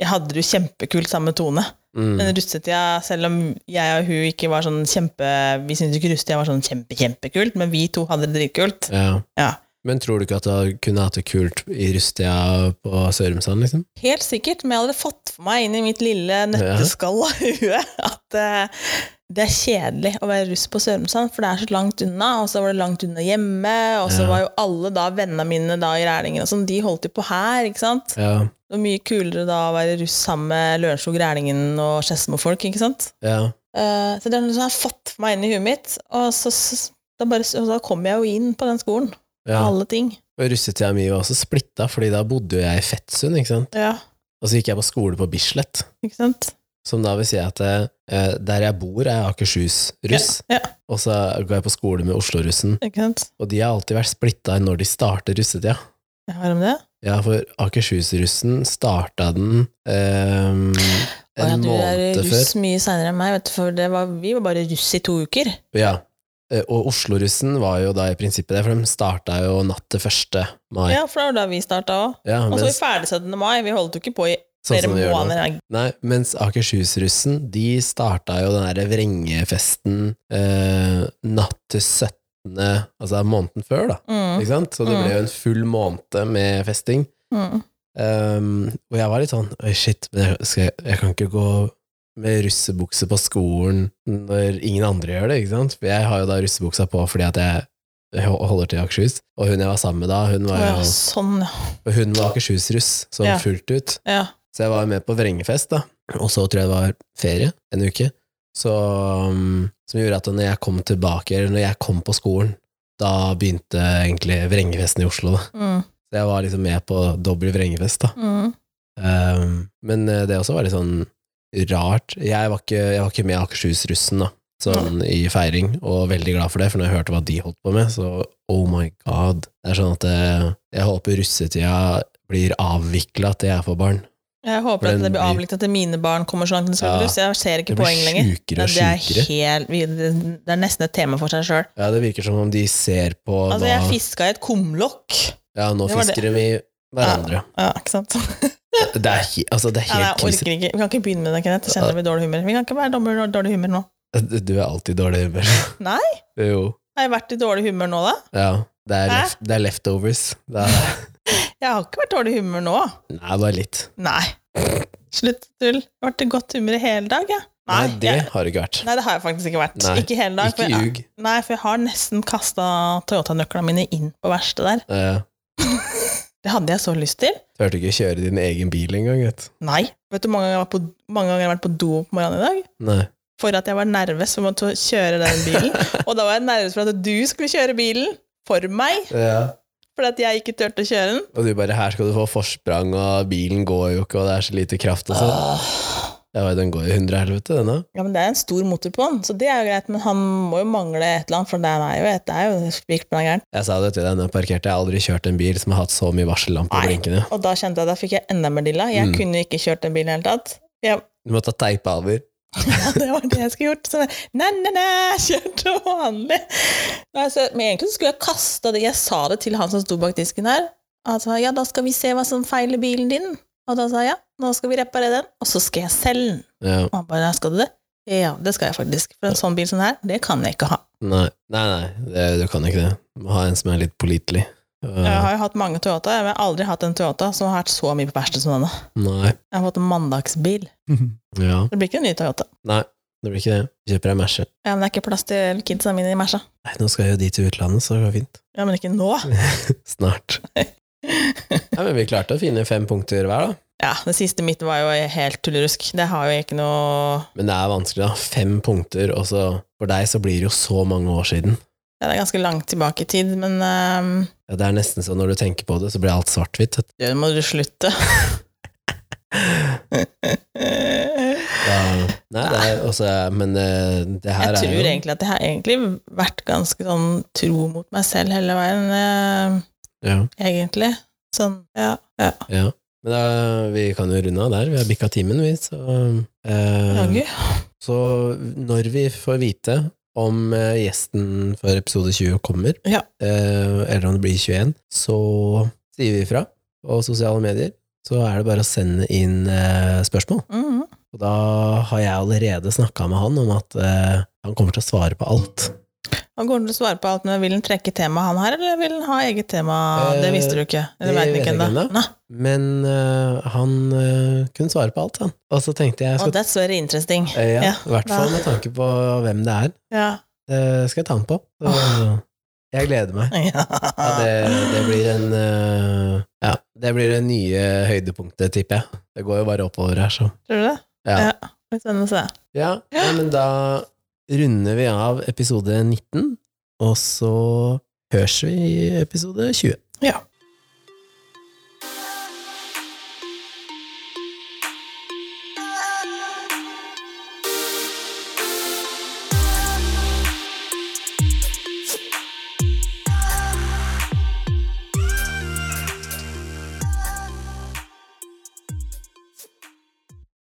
Speaker 2: Jeg hadde det jo kjempekult sammen med Tone.
Speaker 1: Mm.
Speaker 2: Men russetida, selv om jeg og hun ikke var sånn kjempe Vi syntes ikke russetida var sånn kjempe-kjempekult, men vi to hadde det dritkult.
Speaker 1: Ja.
Speaker 2: Ja.
Speaker 1: Men tror du ikke at du kunne hatt det kult i Rustia på Sørumsand, liksom?
Speaker 2: Helt sikkert, men jeg hadde fått for meg inn i mitt lille nøtteskall av huet at eh, det er kjedelig å være russ på Sørumsand, for det er så langt unna, og så var det langt unna hjemme, og så
Speaker 1: Ja.
Speaker 2: var jo alle da vennene mine da i Rælingen og sånn, de holdt jo på her, ikke sant?
Speaker 1: Ja.
Speaker 2: Det var mye kulere da å være russ sammen med Lørenskog, Rælingen og Skedsmo-folk, ikke sant?
Speaker 1: ja.
Speaker 2: Eh, så det er noe som har fått for meg inn i huet mitt, og så, så, da, bare, og da kom jeg jo inn på den skolen,
Speaker 1: ja.
Speaker 2: alle ting.
Speaker 1: Og russetida mi var også splitta, fordi da bodde jo jeg i Fettsund, ikke sant?
Speaker 2: Ja,
Speaker 1: Og så gikk jeg på skole på Bislett,
Speaker 2: ikke sant?
Speaker 1: som da vil si at eh, der jeg bor, er Akershus-russ,
Speaker 2: Ja,
Speaker 1: og så går jeg på skole med Oslo-russen,
Speaker 2: ikke sant?
Speaker 1: og de har alltid vært splitta når de starter russetida.
Speaker 2: Jeg har om det.
Speaker 1: Ja, for Akershus-russen starta den ehm,
Speaker 2: Å ja,
Speaker 1: en måned
Speaker 2: Du er russ
Speaker 1: før.
Speaker 2: mye seinere enn meg, vet du, for det var, vi var bare russ i to uker.
Speaker 1: Ja. Eh, Og Oslo-russen var jo da i prinsippet det, for de starta jo natt til 1. mai.
Speaker 2: Ja, for det var da vi starta òg.
Speaker 1: Ja,
Speaker 2: Og så i
Speaker 1: mens,
Speaker 2: ferdig 17. mai. Vi holdt jo ikke på i
Speaker 1: sånn
Speaker 2: flere
Speaker 1: som de gjør nå.
Speaker 2: måneder.
Speaker 1: Nei, mens Akershus-russen, de starta jo den derre vrengefesten eh, natt til 17., altså måneden før, da.
Speaker 2: Mm,
Speaker 1: Ikke sant? Så det
Speaker 2: Mm.
Speaker 1: ble jo en full måned med festing.
Speaker 2: mm.
Speaker 1: Ehm, og jeg var litt sånn Oi, shit, men jeg, skal, jeg- jeg kan ikke gå med russebukse på skolen når ingen andre gjør det, ikke sant? For jeg har jo da russebuksa på fordi at jeg jeg ho- holder til i Akershus. Og hun jeg var sammen med da, hun var,
Speaker 2: Å ja,
Speaker 1: jo-
Speaker 2: sånn, ja.
Speaker 1: og hun var Akershus-russ, sånn
Speaker 2: Ja.
Speaker 1: fullt ut.
Speaker 2: ja.
Speaker 1: Så jeg var jo med på vrengefest, da. Og så tror jeg det var ferie, en uke, så, um, som gjorde at når jeg kom tilbake, eller når jeg kom på skolen, da begynte egentlig vrengefesten i Oslo, da.
Speaker 2: Mm,
Speaker 1: Så jeg var liksom med på dobbel vrengefest, da.
Speaker 2: mm.
Speaker 1: Um, men eh, det også var litt sånn rart. Jeg var ikke, jeg var ikke med Akershus-russen da, sånn i feiring, og veldig glad for det, for når jeg hørte hva de holdt på med, så oh my god. Det er sånn at eh, jeg håper russetida blir avvikla til jeg får barn.
Speaker 2: Jeg
Speaker 1: For
Speaker 2: håper at
Speaker 1: den
Speaker 2: det blir
Speaker 1: blir-
Speaker 2: avlikt at mine barn kommer så langt i
Speaker 1: Ja.
Speaker 2: russebuss. Jeg ser ikke
Speaker 1: Det blir
Speaker 2: poeng lenger.
Speaker 1: sjukere
Speaker 2: Ja,
Speaker 1: og
Speaker 2: det, er
Speaker 1: sjukere.
Speaker 2: helt, vi- det det er nesten et tema for seg sjøl.
Speaker 1: Ja, det virker som om de ser på
Speaker 2: Altså,
Speaker 1: hva
Speaker 2: jeg fiska i et kumlokk.
Speaker 1: Ja, nå
Speaker 2: Det var det.
Speaker 1: fisker de i hverandre.
Speaker 2: Ja, ikke sant?
Speaker 1: Det er, he- altså, det er
Speaker 2: Ja, nei,
Speaker 1: helt
Speaker 2: jeg orker
Speaker 1: krise.
Speaker 2: ikke. Vi kan ikke begynne med det, Kenneth. Jeg kjenner det blir dårlig humør. Vi kan ikke være dommer og dårlig humør nå.
Speaker 1: Du er alltid i dårlig [LAUGHS] humør.
Speaker 2: Nei.
Speaker 1: Jo.
Speaker 2: Har jeg vært i dårlig humør nå, da?
Speaker 1: Ja. Det er,
Speaker 2: Hæ?
Speaker 1: left, det er leftovers. Det er,
Speaker 2: Jeg har ikke vært i dårlig humør nå.
Speaker 1: nei, bare litt.
Speaker 2: Nei. Slutt tull. Jeg har vært i godt humør i hele dag, jeg.
Speaker 1: Nei, det
Speaker 2: jeg,
Speaker 1: har det ikke vært.
Speaker 2: nei, det har jeg faktisk ikke vært.
Speaker 1: Nei,
Speaker 2: Ikke hele dag.
Speaker 1: Ikke
Speaker 2: for jeg,
Speaker 1: ljug.
Speaker 2: nei, for jeg har nesten kasta Toyota-nøklene mine inn på verkstedet der.
Speaker 1: Eh,
Speaker 2: Det hadde jeg så lyst til.
Speaker 1: Turte ikke kjøre din egen bil engang, vet du.
Speaker 2: Nei. Vet du hvor mange ganger jeg har vært på, mange ganger jeg har vært på do på morgenen i dag?
Speaker 1: Nei.
Speaker 2: For at jeg var nervøs for å måtte kjøre den
Speaker 1: [LAUGHS]
Speaker 2: bilen. Og da var jeg nervøs for at du skulle kjøre bilen for meg, fordi at jeg ikke turte å kjøre den.
Speaker 1: Og du bare 'her skal du få forsprang', og bilen går jo ikke, og det er så lite kraft og
Speaker 2: Ah.
Speaker 1: sånn.
Speaker 2: Åh.
Speaker 1: Ja, vet du, den går i hundre helvete, den da.
Speaker 2: Ja, men det er en stor motor på den, så det er jo greit, men han må jo mangle et eller annet, for den er jo et, det er jo spikblank gæren.
Speaker 1: Jeg sa det til deg når jeg parkerte, jeg har aldri kjørt en bil som har hatt så mye varsellamper
Speaker 2: Nei.
Speaker 1: på blinkene.
Speaker 2: Og da kjente jeg at da fikk jeg enda mer dilla. Jeg
Speaker 1: Mm.
Speaker 2: kunne ikke kjørt den bilen i det hele tatt. [LAUGHS] Jeg,
Speaker 1: Du måtte ha teipa over.
Speaker 2: ja, det var det jeg skulle gjort. Så jeg, nei, nei, nei, kjørt som vanlig. Nei, så, men egentlig så skulle jeg kasta det. Jeg sa det til han som sto bak disken her. Han sa ja, da skal vi se hva som feiler bilen din. Og da sa jeg ja, nå skal vi reparere den, og så skal jeg selge den.
Speaker 1: Ja.
Speaker 2: Og han bare ja, skal du det? Ja, det skal jeg faktisk. For en sånn bil som den her, det kan jeg ikke ha.
Speaker 1: Nei, nei, nei det, du kan ikke det. Du må ha en som er litt pålitelig. Eh,
Speaker 2: Jeg har jo hatt mange Toyota, jeg har aldri hatt en Toyota som har vært så mye på verksted som denne.
Speaker 1: Nei.
Speaker 2: Jeg har fått en mandagsbil.
Speaker 1: Ja.
Speaker 2: Det blir ikke en ny Toyota.
Speaker 1: Nei, det blir ikke det. Kjøper deg Merce.
Speaker 2: Ja, men det er ikke plass til kidsa mine i Mersa.
Speaker 1: Nei, nå skal jo de til utlandet, så det går fint. [LAUGHS]
Speaker 2: Ja, men ikke nå.
Speaker 1: Snart. Nei, men vi klarte å finne fem punkter hver, da.
Speaker 2: Ja, det siste mitt var jo helt tullerusk. Det har jo ikke noe
Speaker 1: Men det er vanskelig, da. Fem punkter, og så For deg så blir det jo så mange år siden.
Speaker 2: ja, Det er ganske langt tilbake i tid, men ehm,
Speaker 1: Ja, det er nesten sånn når du tenker på det, så blir alt svart-hvitt. vet du.
Speaker 2: det må du
Speaker 1: [LAUGHS]
Speaker 2: slutte. Jeg
Speaker 1: Ja, Nei, det er også Men eh, det her
Speaker 2: tror
Speaker 1: er jo
Speaker 2: egentlig at jeg har egentlig vært ganske sånn tro mot meg selv hele veien, ehm,
Speaker 1: ja,
Speaker 2: egentlig. Sånn, ja. ja.
Speaker 1: ja. Men da, vi kan jo runde av der. Vi har bikka timen, vi. Så, eh,
Speaker 2: Jaggu.
Speaker 1: så når vi får vite om eh, gjesten for episode 20 kommer,
Speaker 2: Ja.
Speaker 1: eh, eller om det blir 21, så sier vi ifra. Og sosiale medier. Så er det bare å sende inn eh, spørsmål.
Speaker 2: Mhm.
Speaker 1: Og da har jeg allerede snakka med han om at eh, han kommer til å svare på alt.
Speaker 2: Han går til å svare på alt, men vil han trekke temaet han her, eller vil han ha eget tema?
Speaker 1: Eh,
Speaker 2: det visste du ikke.
Speaker 1: det
Speaker 2: Eller
Speaker 1: vet
Speaker 2: veit ikke
Speaker 1: jeg ikke
Speaker 2: ennå.
Speaker 1: ennå.
Speaker 2: Nei.
Speaker 1: Men eh, han eh, kunne svare på alt, han. Og så tenkte jeg, jeg
Speaker 2: Oh,
Speaker 1: skal,
Speaker 2: that's very interesting.
Speaker 1: Eh, ja,
Speaker 2: ja.
Speaker 1: i hvert fall med tanke på hvem det er,
Speaker 2: Ja.
Speaker 1: eh, skal jeg ta han på. Så, Jeg gleder meg.
Speaker 2: ja.
Speaker 1: Ja, det, det blir en eh, Ja, det blir det nye høydepunktet, tipper jeg. Det går jo bare oppover her, så.
Speaker 2: Tror du det?
Speaker 1: Ja.
Speaker 2: Ja. Det blir spennende å se.
Speaker 1: Ja, nei, men da runder vi av episode 19, og så høres vi i episode 20.
Speaker 2: Ja.